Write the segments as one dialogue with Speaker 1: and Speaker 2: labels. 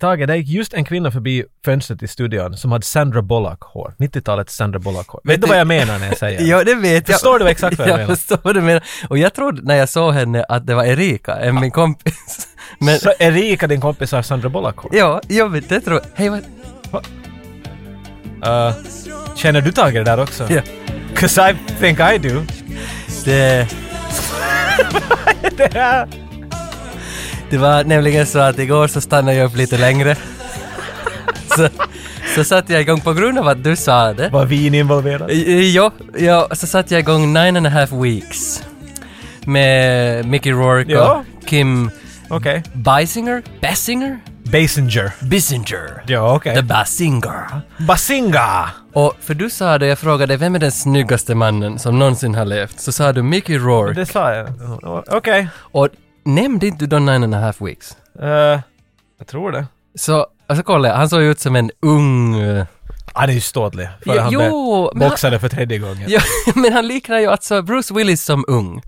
Speaker 1: Tage, det gick just en kvinna förbi fönstret i studion som hade Sandra Bullock-hår. 90-talets Sandra Bullock-hår. Vet,
Speaker 2: Vet
Speaker 1: du
Speaker 2: du-
Speaker 1: vad jag menar när jag säger
Speaker 2: Ja, det vet jag.
Speaker 1: Förstår du exakt vad jag menar?
Speaker 2: Jag förstår vad du menar. Och jag trodde när jag såg henne att det var Erika, en min kompis. Men
Speaker 1: Så Erika, din kompis, har Sandra Bullock-hår.
Speaker 2: ja, jag vet, det tror jag. Hej, vad...
Speaker 1: Uh, känner du Tage det där också?
Speaker 2: Ja.
Speaker 1: 'Cause I think I do.
Speaker 2: Det, det var nämligen så att igår så stannade jag upp lite längre. Så, så satte jag igång på grund av att du sa det.
Speaker 1: Var vin involverad?
Speaker 2: Ja, ja, så satte jag igång Nine and a half weeks med Mickey Rourke
Speaker 1: Ja.
Speaker 2: och Kim
Speaker 1: Okej.
Speaker 2: Bisinger? Basinger?
Speaker 1: Basinger.
Speaker 2: Bisinger.
Speaker 1: Ja, okej.
Speaker 2: The Basinger.
Speaker 1: Basinga!
Speaker 2: Och för du sa det, jag frågade vem är den snyggaste mannen som någonsin har levt? Så sa du Mickey Rourke.
Speaker 1: Det sa jag. Okej.
Speaker 2: Och nämnde inte du då Nine and a half weeks?
Speaker 1: Eh, jag tror det.
Speaker 2: Så, alltså kolla, han såg ju ut som en ung... eh,
Speaker 1: Han är ju ståtlig. För
Speaker 2: Jo,
Speaker 1: han
Speaker 2: jo,
Speaker 1: blev
Speaker 2: men han-
Speaker 1: boxade för tredje gången.
Speaker 2: Ja, men han liknar ju alltså Bruce Willis som ung.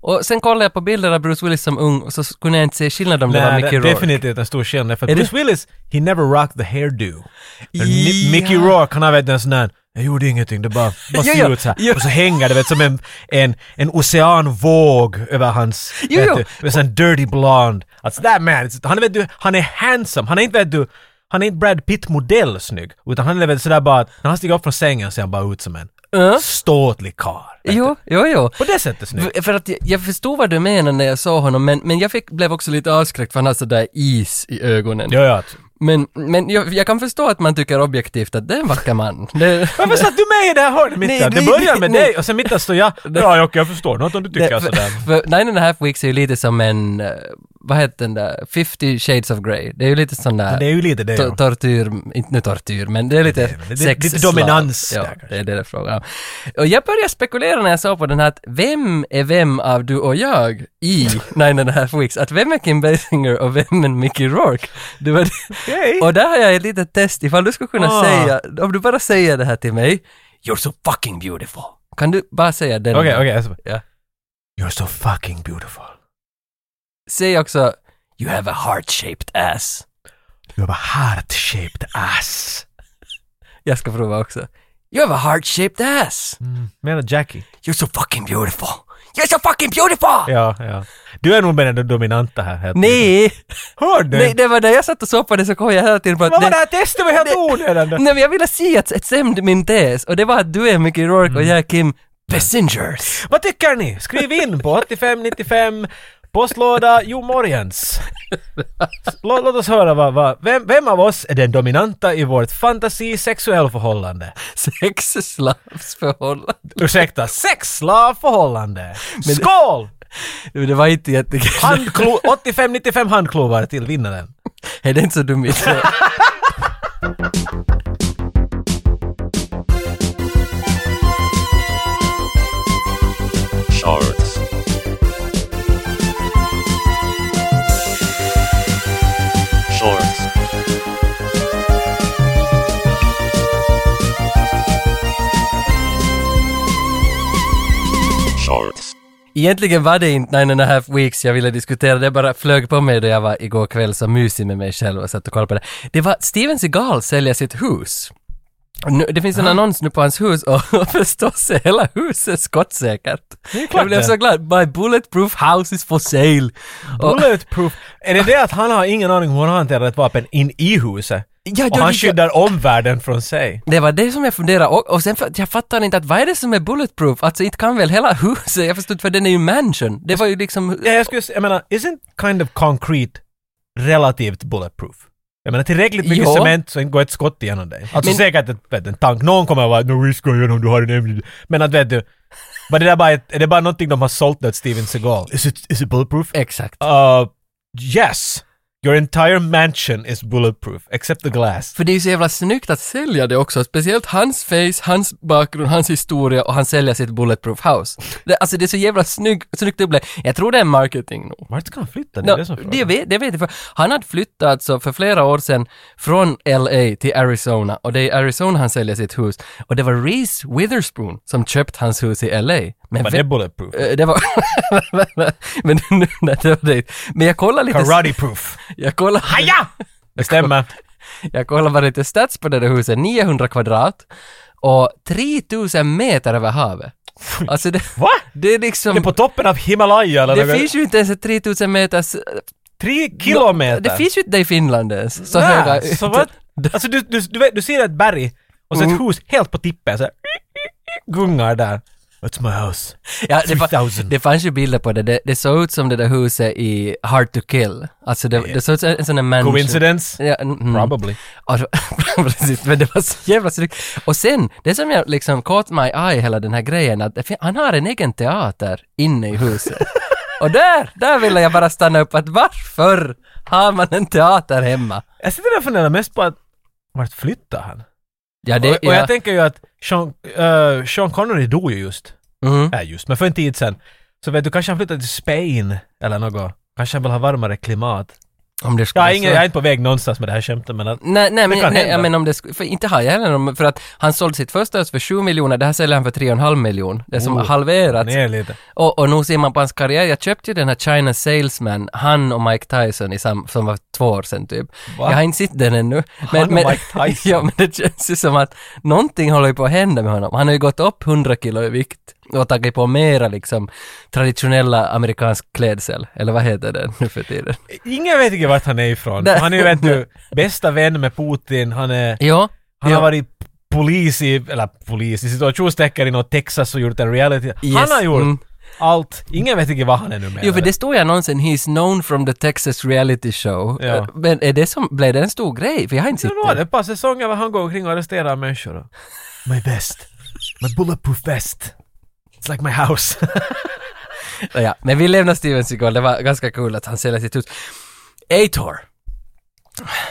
Speaker 2: Och sen kollade jag på bilder av Bruce Willis som ung och så kunde jag inte se skillnad om det var
Speaker 1: Nej,
Speaker 2: Mickey
Speaker 1: det är
Speaker 2: Rourke.
Speaker 1: definitivt en stor skillnad. För
Speaker 2: Är det-
Speaker 1: Bruce Willis, he never rocked the hairdo.
Speaker 2: Ja.
Speaker 1: Ni- Mickey Rourke, han har vet en sån där, jag gjorde ingenting, det bara, bara
Speaker 2: Ja,
Speaker 1: ser
Speaker 2: ja,
Speaker 1: ut så här.
Speaker 2: ja.
Speaker 1: Och så hänger det vet, som en, en, en oceanvåg över hans,
Speaker 2: Jo,
Speaker 1: vet
Speaker 2: jo.
Speaker 1: du, med sån dirty blond. Alltså that man, it's- han, är, vet du, han är handsome, han är inte vet du, han är inte Brad Pitt-modell snygg, utan han är väl sådär bara att när han stiger upp från sängen ser han bara ut som en
Speaker 2: Ja.
Speaker 1: ståtlig karl. vet
Speaker 2: Jo, jo, jo.
Speaker 1: du. På det sättet snygg.
Speaker 2: För- För att jag, jag förstod vad du menar när jag såg honom, men, men jag fick, blev också lite avskräckt för han har sådär is i ögonen.
Speaker 1: Ja, ja.
Speaker 2: Men, men jag, jag kan förstå att man tycker objektivt att det är en vacker man. Det,
Speaker 1: Varför satt du med i det här hörnet
Speaker 2: Nej,
Speaker 1: mitten? Det
Speaker 2: nej,
Speaker 1: börjar med
Speaker 2: nej.
Speaker 1: dig och sen mitten står jag. Ja, Jocke, jag förstår något om du tycker
Speaker 2: det,
Speaker 1: sådär.
Speaker 2: för, för Nine and a half weeks är ju lite som en, eh, vad heter den där, 50 shades of Grey. Det är ju lite sån där...
Speaker 1: Det är ju lite det.
Speaker 2: to-
Speaker 1: ja.
Speaker 2: tortyr, inte nu tortyr, men det är lite
Speaker 1: det- det-
Speaker 2: sex
Speaker 1: lite dominans
Speaker 2: Ja,
Speaker 1: där kanske.
Speaker 2: det är det det är frågan om. Och jag började spekulera när jag såg på den här att vem är vem av du och jag i Nine and a half weeks? Att vem är Kim Basinger och vem är Mickey Rourke? Det var det.
Speaker 1: Okej.
Speaker 2: Och där har jag ett litet test ifall du skulle kunna
Speaker 1: Ah.
Speaker 2: säga, om du bara säger det här till mig, You're so fucking beautiful. Kan du bara säga den?
Speaker 1: Okej, okej. alltså.
Speaker 2: Ja.
Speaker 1: You're so fucking beautiful.
Speaker 2: Säg också, You have a heart-shaped ass.
Speaker 1: You have a heart-shaped ass.
Speaker 2: Jag ska prova också. You have a heart-shaped ass.
Speaker 1: Mm. Menar Jackie?
Speaker 2: You're so fucking beautiful! You're so fucking beautiful!
Speaker 1: Ja, ja. Du är nog med den dominanta här. helt tydligt.
Speaker 2: Nej,
Speaker 1: Hör du?
Speaker 2: nej, det var när jag satt och såg på det så kom jag hela tiden på att...
Speaker 1: Vad var
Speaker 2: nej-
Speaker 1: det här testet? Det var helt onödigt.
Speaker 2: Nej men jag ville se att ett sämd min tes och det var att du är Mickey Rourke
Speaker 1: Mm.
Speaker 2: och jag är Kim Passengers.
Speaker 1: Vad tycker ni? Skriv in på 8595 postlåda Jo Morgens. Låt, låt oss höra vad, vad vem, vem av oss är den dominanta i vårt fantasisexuell förhållande?
Speaker 2: Sexslavsförhållande.
Speaker 1: Ursäkta, sexslavförhållande! Skål!
Speaker 2: Det var inte jättekul.
Speaker 1: Handklo- 85-95 handklovar till vinnaren.
Speaker 2: Är det inte så dum idé?
Speaker 3: Shorts. Shorts. Shorts.
Speaker 2: Egentligen var det inte nine and a half weeks jag ville diskutera, det bara flög på mig då jag var igår kväll så mysig med mig själv och satt och kollade på det. Det var Steven Seagal säljer sitt hus. Nu, det finns en annons nu på hans hus och, och förstås är hela huset skottsäkert.
Speaker 1: klart
Speaker 2: Jag blev
Speaker 1: det.
Speaker 2: så glad. My bulletproof house is for sale. Och,
Speaker 1: Bulletproof. Är det det att han har ingen aning om hur han hanterar ett vapen in i huset?
Speaker 2: ja,
Speaker 1: Och
Speaker 2: ja,
Speaker 1: han
Speaker 2: ja,
Speaker 1: skyddar omvärlden från sig?
Speaker 2: det var det som jag funderade och, och sen för, jag fattar inte att vad är det som är bulletproof? Alltså inte kan väl hela huset, jag förstod för den är ju mansion. Det var ju liksom...
Speaker 1: Ja, jag skulle s- jag menar, isn't kind of concrete relativt bulletproof? Jag menar tillräckligt mycket
Speaker 2: Jo.
Speaker 1: cement så inte går ett skott igenom dig. Alltså
Speaker 2: Men-
Speaker 1: säkert ett, vet, du, en tank, någon kommer att vara no, vi ska igenom, du har en ämne. Men att vet du, var det där bara ett, är det bara någonting de har sålt åt Steven Seagal? Is it, is it bulletproof?
Speaker 2: Exakt.
Speaker 1: Uh, yes! Your entire mansion is bulletproof, except the glass.
Speaker 2: För det är ju så jävla snyggt att sälja det också, speciellt hans face, hans bakgrund, hans historia och han säljer sitt bulletproof house. Det, alltså det är så jävla snygg, snyggt upplägg. Jag tror det är marketing nog.
Speaker 1: Vart ska han flytta? Det
Speaker 2: Nå,
Speaker 1: är det som är
Speaker 2: det,
Speaker 1: frågan.
Speaker 2: vet, det vet jag, för han hade flyttat alltså för flera år sedan från LA till Arizona och det är i Arizona han säljer sitt hus. Och det var Reese Witherspoon som köpt hans hus i LA. Men
Speaker 1: Men det är bulletproof.
Speaker 2: ve- eh, det var... men nu, nej, det var det. Men jag kollar lite...
Speaker 1: Karate proof.
Speaker 2: Jag kollar...
Speaker 1: Haja! Det stämmer.
Speaker 2: Jag kollar lite stats på det där huset, 900 kvadrat och 3000 meter över havet. Alltså det,
Speaker 1: Va?
Speaker 2: det är
Speaker 1: Det är
Speaker 2: liksom...
Speaker 1: på toppen av Himalaya eller
Speaker 2: Det
Speaker 1: något.
Speaker 2: finns ju inte ens ett 3000 meters...
Speaker 1: Tre kilometer!
Speaker 2: Det finns ju inte i Finland ens. Så
Speaker 1: Nä,
Speaker 2: höga...
Speaker 1: Så vad? Alltså du, du, du, vet, du ser ett berg och så ett
Speaker 2: Mm.
Speaker 1: hus helt på tippen så här, gungar där. That's my house.
Speaker 2: Ja, det, fa-
Speaker 1: 3000.
Speaker 2: det fanns ju bilder på det. det. Det såg ut som det där huset i Hard to Kill. Alltså det, det såg ut som en sån där mansion.
Speaker 1: Coincidence?
Speaker 2: Ja, mm, mm.
Speaker 1: Probably.
Speaker 2: Och så- Precis, men det var så jävla snyggt. Och sen, det som jag liksom caught my eye hela den här grejen, att det fin- han har en egen teater inne i huset. Och där, där ville jag bara stanna upp att varför har man en teater hemma?
Speaker 1: Jag sitter där och funderar mest på att vart flyttar han?
Speaker 2: Ja, det,
Speaker 1: och, och
Speaker 2: ja.
Speaker 1: jag tänker ju att Sean, eh, Sean Connery dog ju just.
Speaker 2: Mm.
Speaker 1: Nej, just, men för en tid sedan. Så vet du, kanske han flyttade till Spain eller något. Kanske han vill ha varmare klimat.
Speaker 2: Om det
Speaker 1: Jag,
Speaker 2: skulle
Speaker 1: har
Speaker 2: vara
Speaker 1: ingen,
Speaker 2: så.
Speaker 1: jag är inte på väg någonstans med det här skämtet men att...
Speaker 2: Nej, nej, men,
Speaker 1: kan
Speaker 2: nej
Speaker 1: hända.
Speaker 2: jag menar om det sk- för inte har jag heller någon, för att han sålde sitt första hus för 7 miljoner, det här säljer han för 3,5 miljoner. Det är som
Speaker 1: Oh,
Speaker 2: halverats.
Speaker 1: Ner lite.
Speaker 2: Och, och nu ser man på hans karriär, jag köpte ju den här China Salesman, han och Mike Tyson i sam, som var två år sedan typ.
Speaker 1: Va?
Speaker 2: Jag har inte sett den ännu.
Speaker 1: och Mike Tyson.
Speaker 2: ja, men det känns ju som att någonting håller ju på att hända med honom. Han har ju gått upp 100 kilo i vikt och tagit på mera liksom traditionella amerikansk klädsel, eller vad heter det nu för tiden?
Speaker 1: Ingen vet inte vart han är ifrån.
Speaker 2: Nej.
Speaker 1: Han är ju vet du, bästa vän med Putin, han är...
Speaker 2: Ja,
Speaker 1: Han
Speaker 2: ja.
Speaker 1: har varit polis i, eller polis i situationstecken i något Texas och gjort en reality. Han
Speaker 2: Yes,
Speaker 1: har gjort
Speaker 2: mm.
Speaker 1: allt. Ingen vet inte vad han är nu med.
Speaker 2: Jo, för det står ju i annonsen “He's known from the Texas reality show”. Eh,
Speaker 1: Ja.
Speaker 2: Men är det som, blev det en stor grej? För jag har inte
Speaker 1: det
Speaker 2: sett
Speaker 1: är nog ett par säsonger var han går omkring och arresterar människor. My best. My bulletproof vest. It's like my house.
Speaker 2: Ja, men vi lämnar Steven Seagal, det var ganska kul att han säljer sitt hus. Ator.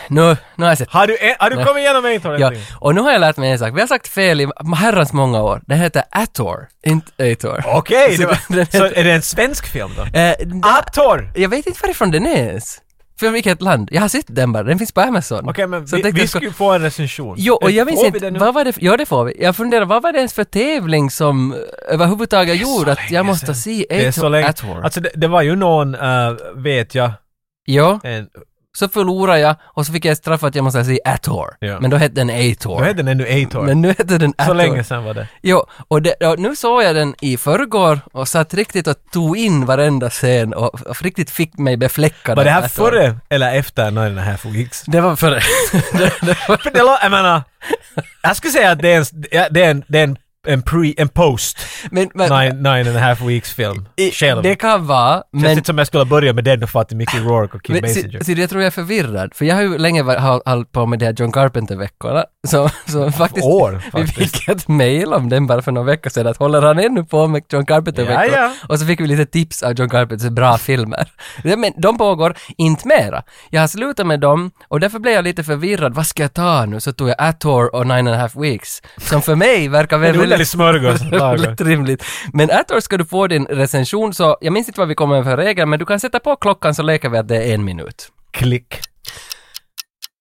Speaker 2: Nu, nu har jag sett.
Speaker 1: har du, en- har du kommit igenom en torr
Speaker 2: Ja, och nu har jag lärt mig en sak. Vi har sagt fel i herrans många år. Det heter Ator, inte Ator.
Speaker 1: Okej, det var-
Speaker 2: Så den
Speaker 1: så
Speaker 2: heter-
Speaker 1: är det en svensk film då?
Speaker 2: Eh, den-
Speaker 1: Ator!
Speaker 2: jag vet inte varifrån den är ens. Från vilket land? Jag har sett den bara, den finns på Amazon.
Speaker 1: Okej, men
Speaker 2: Så
Speaker 1: vi,
Speaker 2: jag tänkte
Speaker 1: vi
Speaker 2: jag ska-
Speaker 1: ska ju få en recension. Eh,
Speaker 2: Jo, och jag minns
Speaker 1: Får vi det
Speaker 2: inte,
Speaker 1: nu?
Speaker 2: vad var det, ja det får vi. Jag funderar, vad var det ens för tävling som eh, överhuvudtaget gjorde att
Speaker 1: länge
Speaker 2: jag måste
Speaker 1: sedan.
Speaker 2: se
Speaker 1: Det är så
Speaker 2: Ator?
Speaker 1: länge...
Speaker 2: Ator.
Speaker 1: Alltså det, det var ju någon, eh, vet jag,
Speaker 2: ja,
Speaker 1: en,
Speaker 2: så förlorade jag och så fick jag straff att jag måste säga Ator.
Speaker 1: Ja.
Speaker 2: Men då hette den
Speaker 1: då
Speaker 2: Ator.
Speaker 1: hette den ännu Ator.
Speaker 2: Men nu heter den Ator.
Speaker 1: Så länge sedan var det.
Speaker 2: Jo, och, det, och nu såg jag den i förrgår och satt riktigt och tog in varenda scen och, och riktigt fick mig befläckad.
Speaker 1: Var det
Speaker 2: av
Speaker 1: här
Speaker 2: Ator.
Speaker 1: före eller efter när den här gigs?
Speaker 2: Det var före. det, det var,
Speaker 1: För det lå- jag menar, jag skulle säga att det är en, ja, det är en, det är en, en pre, en post
Speaker 2: men, men,
Speaker 1: nine, nine and a half weeks film.
Speaker 2: i-
Speaker 1: Själv.
Speaker 2: Det
Speaker 1: Det
Speaker 2: kan vara,
Speaker 1: känns
Speaker 2: men...
Speaker 1: inte som jag skulle börja med den och fatta Mickey Rourke och Kim
Speaker 2: Men,
Speaker 1: Basinger.
Speaker 2: så, så jag tror jag är förvirrad, för jag har ju länge var- har- hållit på med de här John Carpenter-veckorna, så, så faktiskt...
Speaker 1: År
Speaker 2: Vi
Speaker 1: faktiskt.
Speaker 2: fick ett mail om den bara för några veckor sedan, att håller han ännu på med John Carpenter-veckor?
Speaker 1: Ja, ja.
Speaker 2: Och så fick vi lite tips av John Carpenters bra filmer. Ja, Men de pågår inte mera. Jag har slutat med dem och därför blev jag lite förvirrad. Vad ska jag ta nu? Så tog jag Ator och Nine and a Half Weeks, som för mig verkar
Speaker 1: En
Speaker 2: väl
Speaker 1: underlig smörgås.
Speaker 2: Väldigt rimligt. Men Ator ska du få din recension så, jag minns inte vad vi kommer med för regler, men du kan sätta på klockan så leker vi att det är en minut.
Speaker 1: Klick.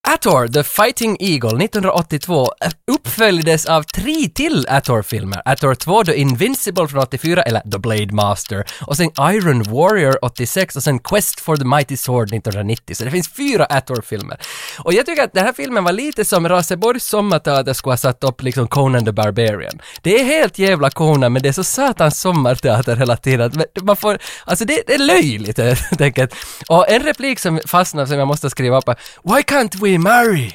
Speaker 2: Ator, The Fighting Eagle 1982 uppföljdes av tre till Ator-filmer. Ator 2, The Invincible från 84, eller The Blade Master, och sen Iron Warrior 86 och sen Quest for the Mighty Sword 1990. Så det finns fyra Ator-filmer. Och jag tycker att den här filmen var lite som Raseborgs sommarteater skulle ha satt upp liksom Conan the Barbarian. Det är helt jävla Conan, men det är så satans sommarteater hela tiden. Men Man får, alltså det, det är löjligt helt enkelt. Och en replik som fastnade som jag måste skriva upp är “Why can't we marry?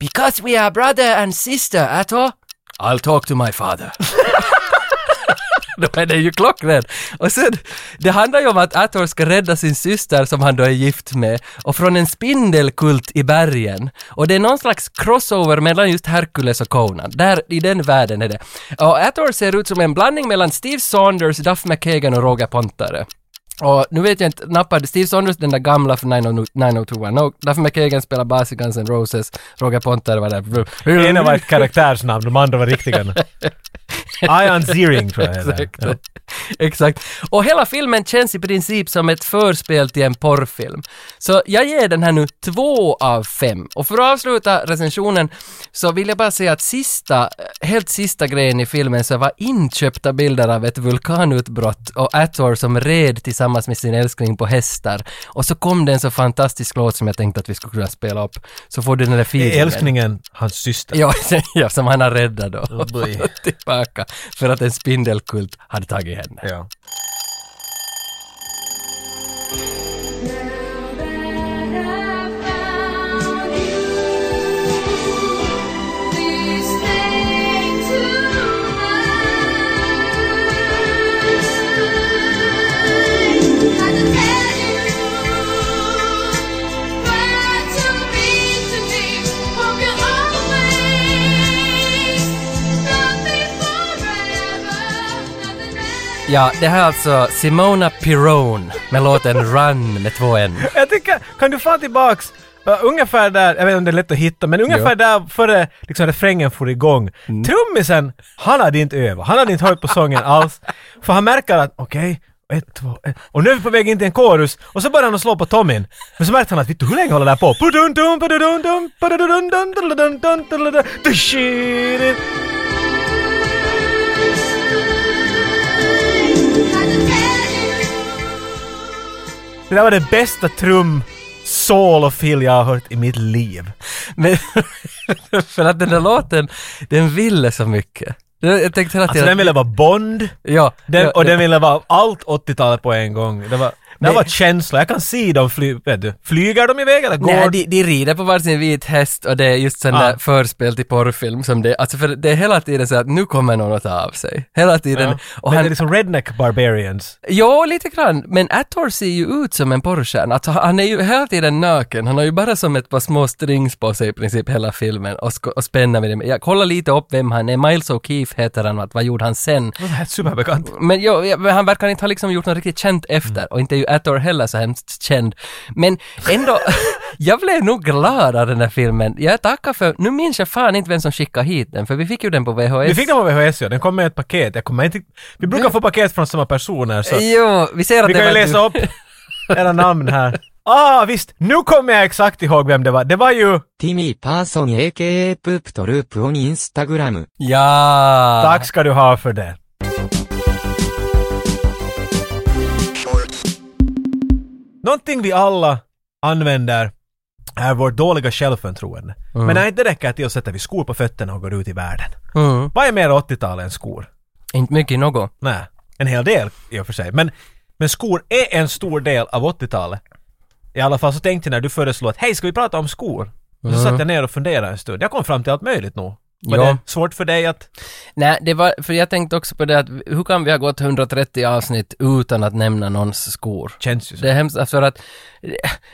Speaker 2: Because we are brother and sister, at all? I'll talk to my father.” Då är det ju klockren. Och sen, det handlar ju om att Ator ska rädda sin syster som han då är gift med och från en spindelkult i bergen. Och det är någon slags crossover mellan just Hercules och Conan. Där, i den världen är det. Och Ator ser ut som en blandning mellan Steve Saunders, Duff McKagan och Roger Pontare. Och nu vet jag inte, nappade Steve Saunders den där gamla oh från 90- 90210? Därför McKagan spelar bas i Guns N' Roses, Roger Pontare var där.
Speaker 1: Ena var ett karaktärsnamn, de andra var riktiga. Ion Ziering tror jag heter.
Speaker 2: Exakt. Exakt. Och hela filmen känns i princip som ett förspel till en porrfilm. Så jag ger den här nu två av fem. Och för att avsluta recensionen så vill jag bara säga att sista, helt sista grejen i filmen så var inköpta bilder av ett vulkanutbrott och Ator som red tillsammans med sin älskling på hästar. Och så kom det en så fantastisk låt som jag tänkte att vi skulle kunna spela upp. Så får du den där
Speaker 1: Ja.
Speaker 2: feelingen.
Speaker 1: Älskningen, hans syster.
Speaker 2: Ja, ja, som han har räddat då.
Speaker 1: Oh boy.
Speaker 2: tillbaka. För att en spindelkult hade tagit henne.
Speaker 1: Ja.
Speaker 2: Ja, det här är alltså Simona Pirone med låten Run med två N.
Speaker 1: Jag tycker, kan du få tillbaks uh, ungefär där, jag vet inte om det är lätt att hitta, men ungefär
Speaker 2: Ja. Mm.
Speaker 1: där före liksom, refrängen får igång. Trummisen, han hade inte övat, han hade inte hört på sången alls. För han märker att okej, ett, två, ett. Och nu är vi på väg in till en korus och så börjar han att slå på Tommin. Men så märkte han att vet du hur länge håller det här på? Pudundum, pudundum, pudundum, pudundum, pudundum, pudundum. Det där var det bästa trum soul och feel jag har hört i mitt liv.
Speaker 2: Men för att den där låten, den ville så mycket. Jag jag tänkte hela
Speaker 1: Alltså
Speaker 2: tiden...
Speaker 1: den ville vara Bond.
Speaker 2: ja,
Speaker 1: Den,
Speaker 2: ja,
Speaker 1: och
Speaker 2: ja.
Speaker 1: den ville vara allt 80-talet på en gång. Det var, det
Speaker 2: Nej.
Speaker 1: var känsla. Jag kan se dem fly, vet du, flyger de iväg eller går
Speaker 2: Nej,
Speaker 1: de?
Speaker 2: de, de rider på varsin vit häst och det är just sån
Speaker 1: Ah.
Speaker 2: där förspel till porrfilm som det Alltså för det är hela tiden så att nu kommer någon att ta av sig. Hela tiden. Och
Speaker 1: Men
Speaker 2: han,
Speaker 1: det är liksom redneck barbarians.
Speaker 2: Ja, lite grann. Men Ator ser ju ut som en porrstjärna. Alltså, han är ju hela tiden naken. Han har ju bara som ett par små strings på sig i princip hela filmen och, sko- och spänner med det. Jag kollar lite upp vem han är. Miles O'Keefe heter han. Vad vad gjorde han sen?
Speaker 1: Det här är superbekant.
Speaker 2: Men, jo, ja, men han verkar inte ha liksom gjort något riktigt känt efter och inte är ju Ator heller så hemskt känd. Men ändå, jag blev nog glad av den här filmen. Jag tackar för, nu minns jag fan inte vem som skickade hit den för vi fick ju den på VHS.
Speaker 1: Vi fick den på VHS ja, den kom med ett paket. Jag kommer inte... Vi brukar få paket från samma personer så
Speaker 2: Jo, vi ser att
Speaker 1: vi
Speaker 2: det
Speaker 1: kan ju
Speaker 2: var
Speaker 1: läsa
Speaker 2: du.
Speaker 1: upp era namn här. Ah visst, nu kommer jag exakt ihåg vem det var. Det var ju...
Speaker 4: ティミーパーソン AKA プープとループオンインスタグラム。
Speaker 2: Ja!
Speaker 1: Tack ska du ha för det. Någonting vi alla använder är vårt dåliga självförtroende. Men när inte det räcker till så sätter vi skor på fötterna och går ut i världen.
Speaker 2: Mm.
Speaker 1: Vad är mer 80-tal än skor?
Speaker 2: Inte mycket något.
Speaker 1: Nej, en hel del i och för sig. Men, men skor är en stor del av 80-talet. I alla fall så tänkte jag när du föreslog att hej, ska vi prata om skor? Och så satt jag ner och funderade en stund. Jag kom fram till allt möjligt nog. Var
Speaker 2: Mm. Ja.
Speaker 1: det svårt för dig att...
Speaker 2: Nej, det var, för jag tänkte också på det att hur kan vi ha gått 130 avsnitt utan att nämna någons skor?
Speaker 1: Känns ju så.
Speaker 2: Det är hemskt, för att eh,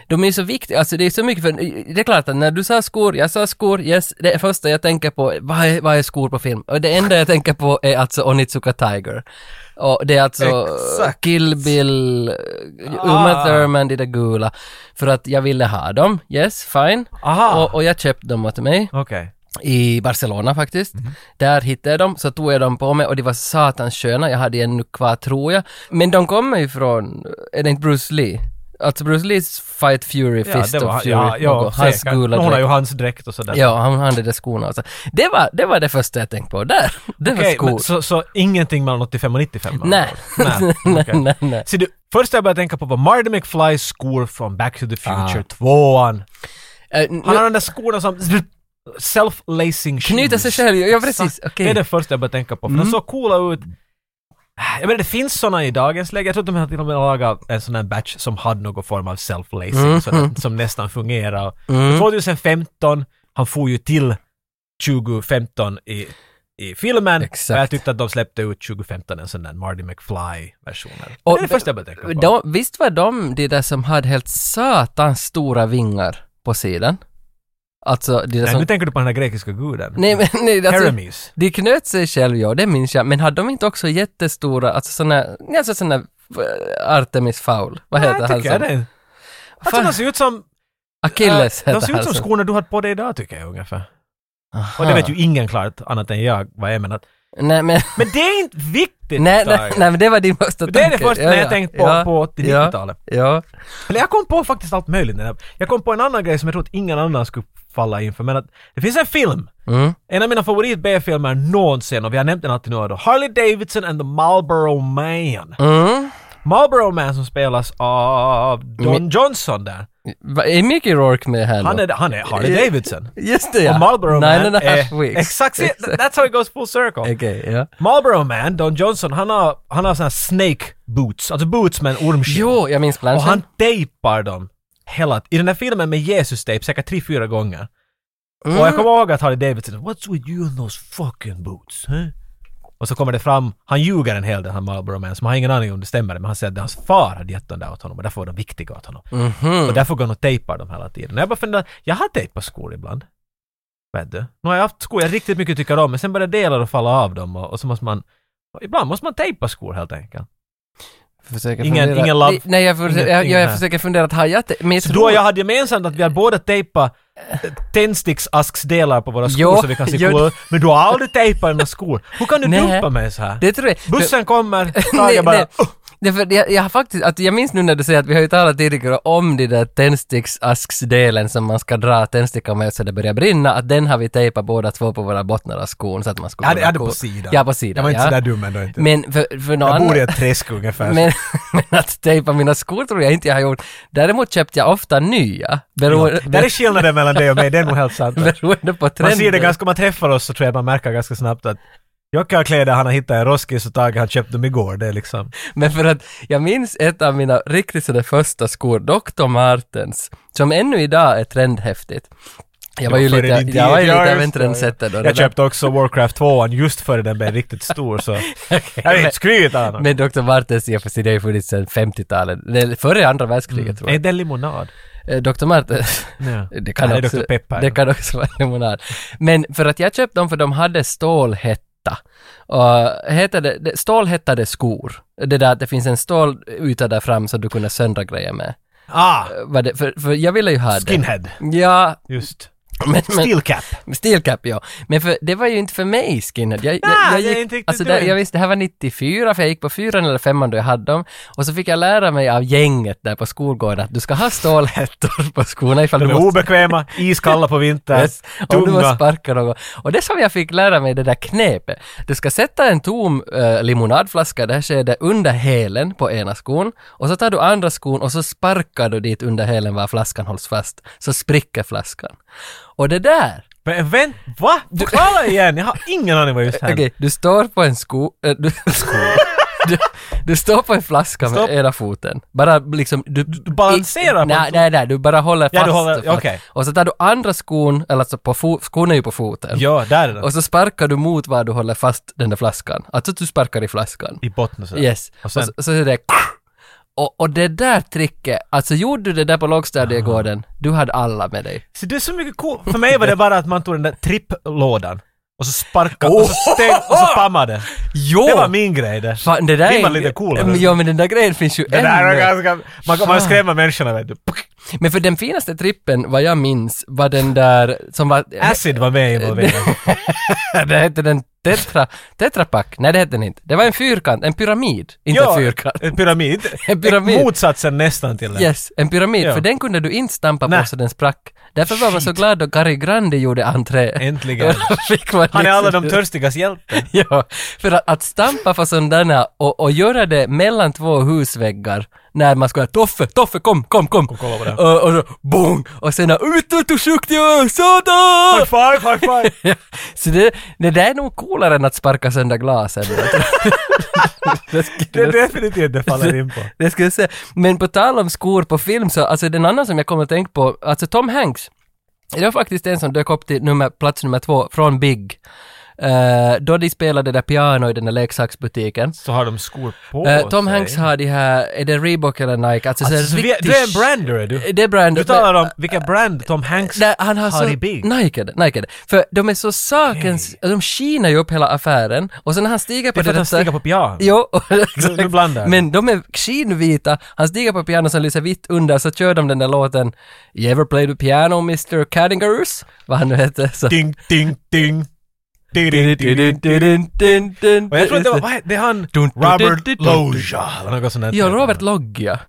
Speaker 2: de är ju så viktiga, alltså det är så mycket för, det är klart att när du sa skor, jag sa skor, yes, det första jag tänker på, vad är, vad är skor på film? Och det enda jag tänker på är alltså Onitsuka Tiger. Och det är alltså
Speaker 1: Exakt.
Speaker 2: Kill Bill, eh, Uma
Speaker 1: Ah.
Speaker 2: Thurman i det gula. För att jag ville ha dem, yes, fine.
Speaker 1: Aha.
Speaker 2: Och, och jag köpte dem åt mig
Speaker 1: Okej.
Speaker 2: i Barcelona faktiskt.
Speaker 1: Mhm.
Speaker 2: Där hittade jag dem, så tog jag dem på mig och de var satans sköna. Jag hade en nu kvar tror jag. Men de kommer ju från, är det inte Bruce Lee? Alltså Bruce Lees Fight Fury,
Speaker 1: Ja,
Speaker 2: Fist
Speaker 1: det var
Speaker 2: of
Speaker 1: han.
Speaker 2: Fury,
Speaker 1: Ja, ja,
Speaker 2: något. hans
Speaker 1: säkert.
Speaker 2: gula
Speaker 1: Hon har ju
Speaker 2: dräkt.
Speaker 1: hans dräkt och sådär.
Speaker 2: Ja, han hade de skorna och så. Det var, det var det första jag tänkte på. Där! Det var
Speaker 1: Okej,
Speaker 2: skor.
Speaker 1: men så, så ingenting mellan 85 och 95? med
Speaker 2: Nej.
Speaker 1: andra ord? Nej.
Speaker 2: nej,
Speaker 1: okej.
Speaker 2: nej, nej.
Speaker 1: Ser du, först jag började tänka på var Marty McFlys skor från Back to the Future 2an.
Speaker 2: Eh,
Speaker 1: Han har
Speaker 2: nu-
Speaker 1: de där skorna som self-lacing shoes.
Speaker 2: Knyta sig själv, ja
Speaker 1: Exakt.
Speaker 2: precis, Mm. okej.
Speaker 1: Det är det första jag började tänka på, för de såg coola ut. Jag menar det finns såna i dagens läge, jag tror att de har till och med lagat en sån här batch som hade någon form av self-lacing,
Speaker 2: Mm.
Speaker 1: sådär, som nästan fungerar.
Speaker 2: Mm.
Speaker 1: 2015, han får ju till 2015 i, i filmen.
Speaker 2: Exakt.
Speaker 1: Och jag tyckte att de släppte ut 2015 en sån där Marty McFly-version. Det
Speaker 2: Och
Speaker 1: är det första jag började tänka på.
Speaker 2: De, visst var de de där som hade helt satans stora vingar på sidan? Alltså, de där
Speaker 1: Nej,
Speaker 2: som...
Speaker 1: nu tänker du på den här grekiska guden.
Speaker 2: Nej, men nej, alltså,
Speaker 1: Hermes.
Speaker 2: De knöt sig själv, ja, det minns jag. Men hade de inte också jättestora, alltså såna, nej, alltså såna eh, Artemis Foul, vad heter
Speaker 1: Nej,
Speaker 2: han
Speaker 1: tycker jag
Speaker 2: som?
Speaker 1: det. Alltså
Speaker 2: Fan.
Speaker 1: de ser ut som...
Speaker 2: Achilles
Speaker 1: äh, de
Speaker 2: heter
Speaker 1: ser ut
Speaker 2: han
Speaker 1: som skorna du har på dig idag tycker jag ungefär. Och det vet ju ingen klart annat än jag vad jag menar.
Speaker 2: Nej men,
Speaker 1: Men det är inte viktigt.
Speaker 2: nej, nej,
Speaker 1: Tage.
Speaker 2: nej, men det var din första tanke.
Speaker 1: Det är det första när jag tänkt på- på 80-90-talet.
Speaker 2: Ja, ja.
Speaker 1: Eller jag kom på faktiskt allt möjligt. när jag- Jag kom på en annan grej som jag tror att ingen annan skulle falla inför. Men att det finns en film.
Speaker 2: Mm.
Speaker 1: En av mina favorit B-filmer någonsin och vi har nämnt den alltid nu och då. Harley Davidson and the Marlboro Man.
Speaker 2: Mm.
Speaker 1: Marlboro Man som spelas av Don Johnson där.
Speaker 2: Va- Är Mickey Rourke med här
Speaker 1: Han
Speaker 2: då?
Speaker 1: är, han är Harley Davidson.
Speaker 2: Just det ja.
Speaker 1: Och Marlboro Man
Speaker 2: Nine and a half
Speaker 1: är...
Speaker 2: weeks.
Speaker 1: Exakt, se, that's how it goes full circle.
Speaker 2: Okej, ja.
Speaker 1: Marlboro Man, Don Johnson, han har, han har såna här snake boots, alltså boots med en ormskinn.
Speaker 2: Jo, jag minns planschen.
Speaker 1: Och han tejpar dem hela I den här filmen med Jesus-tejp säkert tre, fyra gånger. Och jag kommer ihåg att Harley Davidson “What's with you and those fucking boots?” huh? Och så kommer det fram, han ljuger en hel del han Marlboro Man, som har ingen aning om det stämmer, men han säger att hans far hade gett dem där åt honom och därför var de viktiga åt honom.
Speaker 2: Mhm. Mm.
Speaker 1: Och därför går han och tejpar dem hela tiden. Och jag bara funderar, jag har tejpat skor ibland. Vet du? Nu har jag haft skor jag riktigt mycket tycker om, men sen börjar delar att falla av dem och, och så måste man... och Ibland måste man tejpa skor helt enkelt.
Speaker 2: Försöker
Speaker 1: Ingen-
Speaker 2: fundera.
Speaker 1: ingen love-
Speaker 2: Nej, Nej, jag, försöker,
Speaker 1: inget-
Speaker 2: jag,
Speaker 1: ingen
Speaker 2: jag,
Speaker 1: här.
Speaker 2: försöker fundera att har jag te- Men jag
Speaker 1: Så
Speaker 2: tror...
Speaker 1: du och jag hade gemensamt att vi hade båda tejpat eh, tändsticksasksdelar på våra skor
Speaker 2: Jo,
Speaker 1: så vi kan se
Speaker 2: jo.
Speaker 1: coola ut. Men du har aldrig tejpat dina skor. Hur kan du
Speaker 2: Nej.
Speaker 1: dumpa mig så här?
Speaker 2: Det tror jag. För-
Speaker 1: Bussen kommer,
Speaker 2: Nej,
Speaker 1: Tage bara...
Speaker 2: nej. Det är för att jag, jag har faktiskt, att jag minns nu när du säger att vi har ju talat tidigare om den där tändsticksasksdelen som man ska dra tändstickor med så det börjar brinna, att den har vi tejpat båda två på våra bottnar av skon så att man skulle
Speaker 1: Jag hade,
Speaker 2: kunna
Speaker 1: jag hade
Speaker 2: gå-
Speaker 1: på sidan.
Speaker 2: Ja, på sidan.
Speaker 1: Jag var inte
Speaker 2: ja.
Speaker 1: så där dum ändå inte.
Speaker 2: Men för, för någon
Speaker 1: jag
Speaker 2: annan...
Speaker 1: bor i ett träsk ungefär.
Speaker 2: Men, men att tejpa mina skor tror jag inte jag har gjort. Däremot köpte jag ofta nya. Bero,
Speaker 1: Där är skillnaden mellan dig och mig, det är nog helt sant.
Speaker 2: beroende på trenden.
Speaker 1: Man ser det ganska, om man träffar oss så tror jag man märker ganska snabbt att Jocke har kläder han har hittat i Roskis och Tage han köpte dem igår. Det är liksom...
Speaker 2: Men för att jag minns ett av mina riktigt sådär första skor, Dr. Martens, som ännu idag är trendhäftigt. Jag var ju
Speaker 1: Före
Speaker 2: lite,
Speaker 1: din
Speaker 2: jag
Speaker 1: tid.
Speaker 2: var ju
Speaker 1: Ja,
Speaker 2: lite av
Speaker 1: just
Speaker 2: en
Speaker 1: det.
Speaker 2: trendsetter då. redan.
Speaker 1: Jag köpte också Warcraft 2 just före den blev riktigt stor så... Jag vill inte skryta annars.
Speaker 2: Men Dr. Martens i och för sig, det har ju funnits sedan 50-talet, eller före andra världskriget
Speaker 1: Mm.
Speaker 2: tror
Speaker 1: Är
Speaker 2: jag.
Speaker 1: det limonad?
Speaker 2: Eh, Dr. Martens.
Speaker 1: Ja.
Speaker 2: Det kan,
Speaker 1: Nej, det är
Speaker 2: också,
Speaker 1: Dr. Pepper.
Speaker 2: det kan också vara limonad. Men för att jag köpte dem för de hade stålhätta. Och hettade, det- stålhättade skor. Det där att det finns en stålyta där fram som du kunde söndra grejer med.
Speaker 1: Ah!
Speaker 2: Var det, för, för jag ville ju ha eh, det.
Speaker 1: Skinhead.
Speaker 2: Ja,
Speaker 1: Just.
Speaker 2: men... men
Speaker 1: Steel cap.
Speaker 2: Steelcap ja. Men för, det var ju inte för mig skinhead. Jag, jag,
Speaker 1: Nej,
Speaker 2: jag
Speaker 1: det är
Speaker 2: gick,
Speaker 1: inte riktigt
Speaker 2: alltså, där,
Speaker 1: du.
Speaker 2: jag visste, det här var 94 för jag gick på fyran eller femman då jag hade dem. Och så fick jag lära mig av gänget där på skolgården att du ska ha stålhättor på skorna ifall
Speaker 1: De
Speaker 2: du
Speaker 1: är
Speaker 2: måste
Speaker 1: obekväma, iskalla på vintern,
Speaker 2: Yes. Om du måste
Speaker 1: tunga.
Speaker 2: sparka någon. Och det som jag fick lära mig det där knepet. Du ska sätta en tom eh, limonadflaska, det här skedet, under hälen på ena skon. Och så tar du andra skon och så sparkar du dit under hälen var flaskan hålls fast. Så spricker flaskan. Och det där,
Speaker 1: Men vänt, va? Förklara igen, jag har ingen aning vad just
Speaker 2: okej,
Speaker 1: hände.
Speaker 2: du står på en sko... eh, du, sko. Du, du står på en flaska
Speaker 1: Stopp.
Speaker 2: med ena foten. Bara liksom... Du,
Speaker 1: du balanserar på
Speaker 2: Nej,
Speaker 1: en-
Speaker 2: nej, nej, du bara håller fast.
Speaker 1: Ja, du håller-
Speaker 2: och fast.
Speaker 1: okej.
Speaker 2: Och så tar du andra skon, eller alltså på fo- skon är ju på foten.
Speaker 1: Ja, där är den.
Speaker 2: Och så sparkar du mot var du håller fast den där flaskan. Alltså att du sparkar i flaskan.
Speaker 1: I botten och sådär.
Speaker 2: Yes.
Speaker 1: Och
Speaker 2: Och,
Speaker 1: sen-
Speaker 2: så, så är det och, och det där tricket, alltså gjorde du det där på lågstadiegården,
Speaker 1: Ah.
Speaker 2: du hade alla med dig.
Speaker 1: Så det är så mycket coolt. För mig var det bara att man tog den där tripplådan och så sparkade och så stäng, och så pammade.
Speaker 2: Jo!
Speaker 1: Det var min grej där.
Speaker 2: Fan, det där
Speaker 1: Det var
Speaker 2: är-
Speaker 1: lite coolare.
Speaker 2: Men- Ja men den där grejen finns ju
Speaker 1: Det där var
Speaker 2: ännu.
Speaker 1: ganska... Man kan man
Speaker 2: Fan.
Speaker 1: skrämma människorna vet du.
Speaker 2: Men för den finaste trippen, vad jag minns, var den där som var...
Speaker 1: Acid var med
Speaker 2: Eh,
Speaker 1: involverad.
Speaker 2: det hette den tetra... Tetrapack? Nej det hette den inte. Det var en fyrkant, en pyramid. Inte en fyrkant.
Speaker 1: en pyramid.
Speaker 2: En pyramid.
Speaker 1: Motsatsen nästan till det.
Speaker 2: Yes, en pyramid,
Speaker 1: Ja.
Speaker 2: för den kunde du inte stampa
Speaker 1: Nä.
Speaker 2: på så den sprack. Därför var man så
Speaker 1: Shit.
Speaker 2: glad då Gary Grande gjorde entré.
Speaker 1: Äntligen.
Speaker 2: Då fick man
Speaker 1: Han är alla
Speaker 2: liksom-
Speaker 1: de törstigas hjälte.
Speaker 2: Ja, för att, att stampa på sådana och, och göra det mellan två husväggar när man skulle Toffe, Toffe kom, kom, kom.
Speaker 1: kolla på det.
Speaker 2: Och, och så bong! Och sen ut, ut, ut, ut, sådär!
Speaker 1: High five, high five!
Speaker 2: Ja, så det, det där är nog coolare än att sparka sönder glasen. det,
Speaker 1: Det är definitivt det faller in på.
Speaker 2: det ska jag säga. Men på tal om skor på film så, alltså den annan som jag kommer att tänka på, alltså Tom Hanks. Det var faktiskt en som dök upp till nummer, plats nummer två från Big. Eh, då de spelade det där piano i den där leksaksbutiken.
Speaker 1: Så har de skor på
Speaker 2: Eh, Tom
Speaker 1: sig.
Speaker 2: Hanks har de här, är det Reebok eller Nike? Alltså, så
Speaker 1: Alltså,
Speaker 2: här
Speaker 1: så vi,
Speaker 2: riktigt-
Speaker 1: du är Eh, en brander är du.
Speaker 2: Det är brand.
Speaker 1: Du talar om vilken brand Tom Hanks
Speaker 2: Nej, han har
Speaker 1: har
Speaker 2: så...
Speaker 1: i Big.
Speaker 2: Nike är det, Nike är det. För de är så sakens... De skiner ju upp hela affären och sen när han stiger på
Speaker 1: Det är för att han
Speaker 2: detta-
Speaker 1: stiger på piano.
Speaker 2: Jo, och- exakt.
Speaker 1: nu blandar jag.
Speaker 2: Men de är skinvita, han stiger på piano som lyser vitt under så kör de den där låten You ever played the piano Mr. Cadingaroos? Vad han nu heter. Så.
Speaker 1: Ding, ding, ding. Och jag tror att det var, vad heter- det är han
Speaker 2: Dun, dun, dun, dun,
Speaker 1: Robert
Speaker 2: dun.
Speaker 1: Loggia eller något sånt där.
Speaker 2: Ja, Robert Loggia.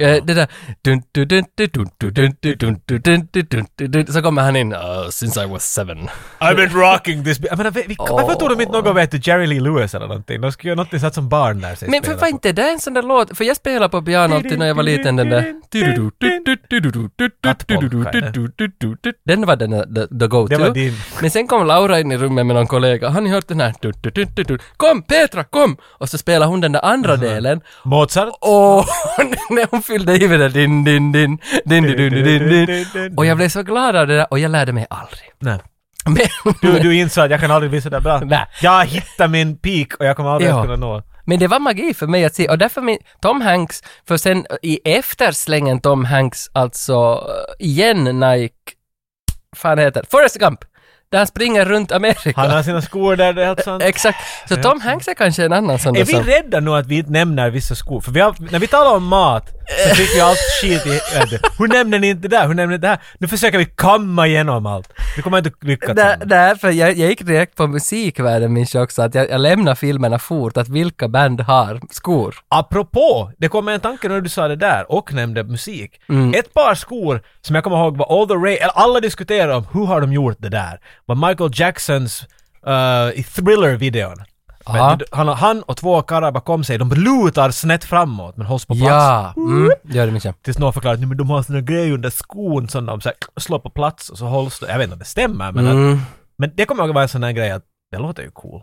Speaker 2: Eh, Det där... dun, dun, dun, dun, dun, dun, dun, dun, dun, dun, dun, dun, dun, dun. Så kommer han in. "Uh, Since I was seven.
Speaker 1: I've been rocking this... Jag menar, vi, vi, varför tog de inte något, vet du, Jerry Lee Lewis eller någonting? De skulle göra något sånt som barn lär sig
Speaker 2: Men för
Speaker 1: spela
Speaker 2: var
Speaker 1: på.
Speaker 2: inte det är en sån där låt? För jag spelade på piano alltid när jag var liten den där...
Speaker 1: Kattpolka, är
Speaker 2: Den var den där- the, the
Speaker 1: Det var
Speaker 2: go-to.
Speaker 1: din.
Speaker 2: Men sen kom Laura in i rummet med någon kollega. Har ni hört den här? Kom Petra, kom! Och så spelade hon den där andra delen.
Speaker 1: Mozart?
Speaker 2: Och när hon fyllde i med det din din din din din din din din Och jag blev så glad av det där och jag lärde mig aldrig.
Speaker 1: Nej.
Speaker 2: Men,
Speaker 1: Du, du insåg att jag kan aldrig bli sådär bra.
Speaker 2: Nej.
Speaker 1: Jag hittar min peak och jag kommer aldrig
Speaker 2: Ja.
Speaker 1: att kunna nå.
Speaker 2: men det var magi för mig att se och därför min, Tom Hanks, för sen eh, i efterslängen Tom Hanks alltså eh, igen Nike, fan heter det? Forrest Gump, där han springer runt Amerika.
Speaker 1: Han har sina skor där, det är helt sant.
Speaker 2: Exakt, så Tom Hanks är kanske en annan sån där
Speaker 1: Är vi
Speaker 2: som...
Speaker 1: rädda nu att vi inte nämner vissa skor? För vi har, när vi talar om mat så fick vi allt skit i Hur nämner ni inte det där? Hur nämner ni det här? Nu försöker vi kamma igenom allt. Vi kommer inte lyckas. med
Speaker 2: Där,
Speaker 1: det.
Speaker 2: därför, jag, jag gick direkt på musikvärlden minns jag också, att jag, jag lämnar filmerna fort, att vilka band har skor.
Speaker 1: Apropå, det kom en tanke när du sa det där och nämnde musik.
Speaker 2: Mm.
Speaker 1: Ett par skor som jag kommer ihåg var All the Ray, eller alla diskuterade om hur har de gjort det där, var Michael Jacksons eh, i Thriller-videon.
Speaker 2: Aha.
Speaker 1: Men du- Han, han och två karlar bakom sig, de lutar snett framåt men hålls på plats.
Speaker 2: Ja, mm, gör det Mischa.
Speaker 1: Tills någon förklarar att "Nej, men de har sina grejer under skon som de så här, slår på plats och så hålls det. Jag vet inte om det stämmer men, att,
Speaker 2: Mm.
Speaker 1: men det kommer jag ihåg var en sån här grej att det låter ju cool.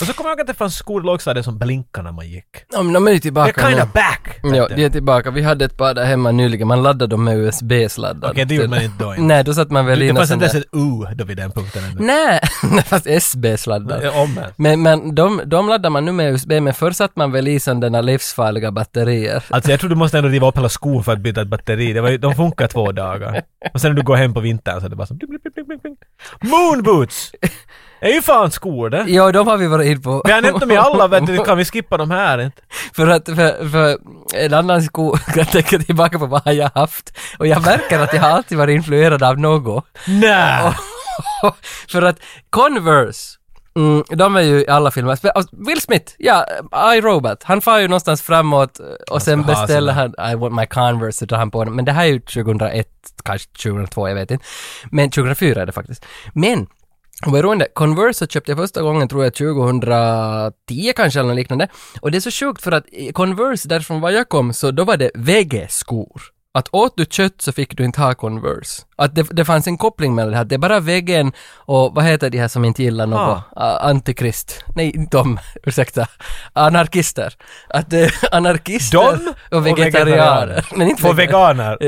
Speaker 1: Och så kommer jag ihåg att det fanns skor i lågstadiet som blinkade när man gick.
Speaker 2: Om de är ju
Speaker 1: They're
Speaker 2: tillbaka
Speaker 1: kinda
Speaker 2: nu.
Speaker 1: back!
Speaker 2: Ja,
Speaker 1: tänkte jag.
Speaker 2: de är tillbaka. Vi hade ett par där hemma nyligen, man laddade dem med USB-sladdar.
Speaker 1: Okej, det gjorde man inte då inte.
Speaker 2: Nej, då satt man väl
Speaker 1: Det
Speaker 2: in och
Speaker 1: fanns
Speaker 2: sen
Speaker 1: inte ens
Speaker 2: där...
Speaker 1: ett U då vid den punkten ännu.
Speaker 2: Nej, fast SB-sladdar.
Speaker 1: Eh, Om ens.
Speaker 2: Men, men de, de laddar man nu med USB, men förr satt man väl i sådana livsfarliga batterier.
Speaker 1: Alltså jag tror du måste ändå riva upp hela skon för att byta ett batteri. Det var, ju- de funkar två dagar. Och sen när du går hem på vintern så är det bara som... Moonboots! är ju fan skor det!
Speaker 2: Ja, de har vi varit in på.
Speaker 1: Vi har nämnt dem i alla, vet du, kan vi skippa de här inte?
Speaker 2: För att, för, för en annan sko, jag tänker tillbaka på vad jag har haft och jag märker att jag har alltid varit influerad av något.
Speaker 1: Nej!
Speaker 2: för att Converse, mm, de är ju i alla filmer, Spe- och Will Smith, ja, I, Robot, han far ju någonstans framåt eh, och sen
Speaker 1: ska ha
Speaker 2: beställer han, I want my Converse, så drar han på den, men det här är ju 2001, kanske 2002, jag vet inte. Men 2004 är det faktiskt. Men och Beroende, Converse så köpte jag första gången tror jag 2010 kanske eller något liknande. Och det är så sjukt för att i Converse därifrån var jag kom så då var det vegeskor. Att åt du kött så fick du inte ha Converse. Att det, det fanns en koppling mellan det här. Det är bara vegen och vad heter de här som inte gillar något?
Speaker 1: Ah.
Speaker 2: Ah, antikrist. Nej, inte de. Ursäkta. Anarkister. Att eh, anarkister
Speaker 1: De
Speaker 2: och vegetarianer. Men inte
Speaker 1: Och veganer.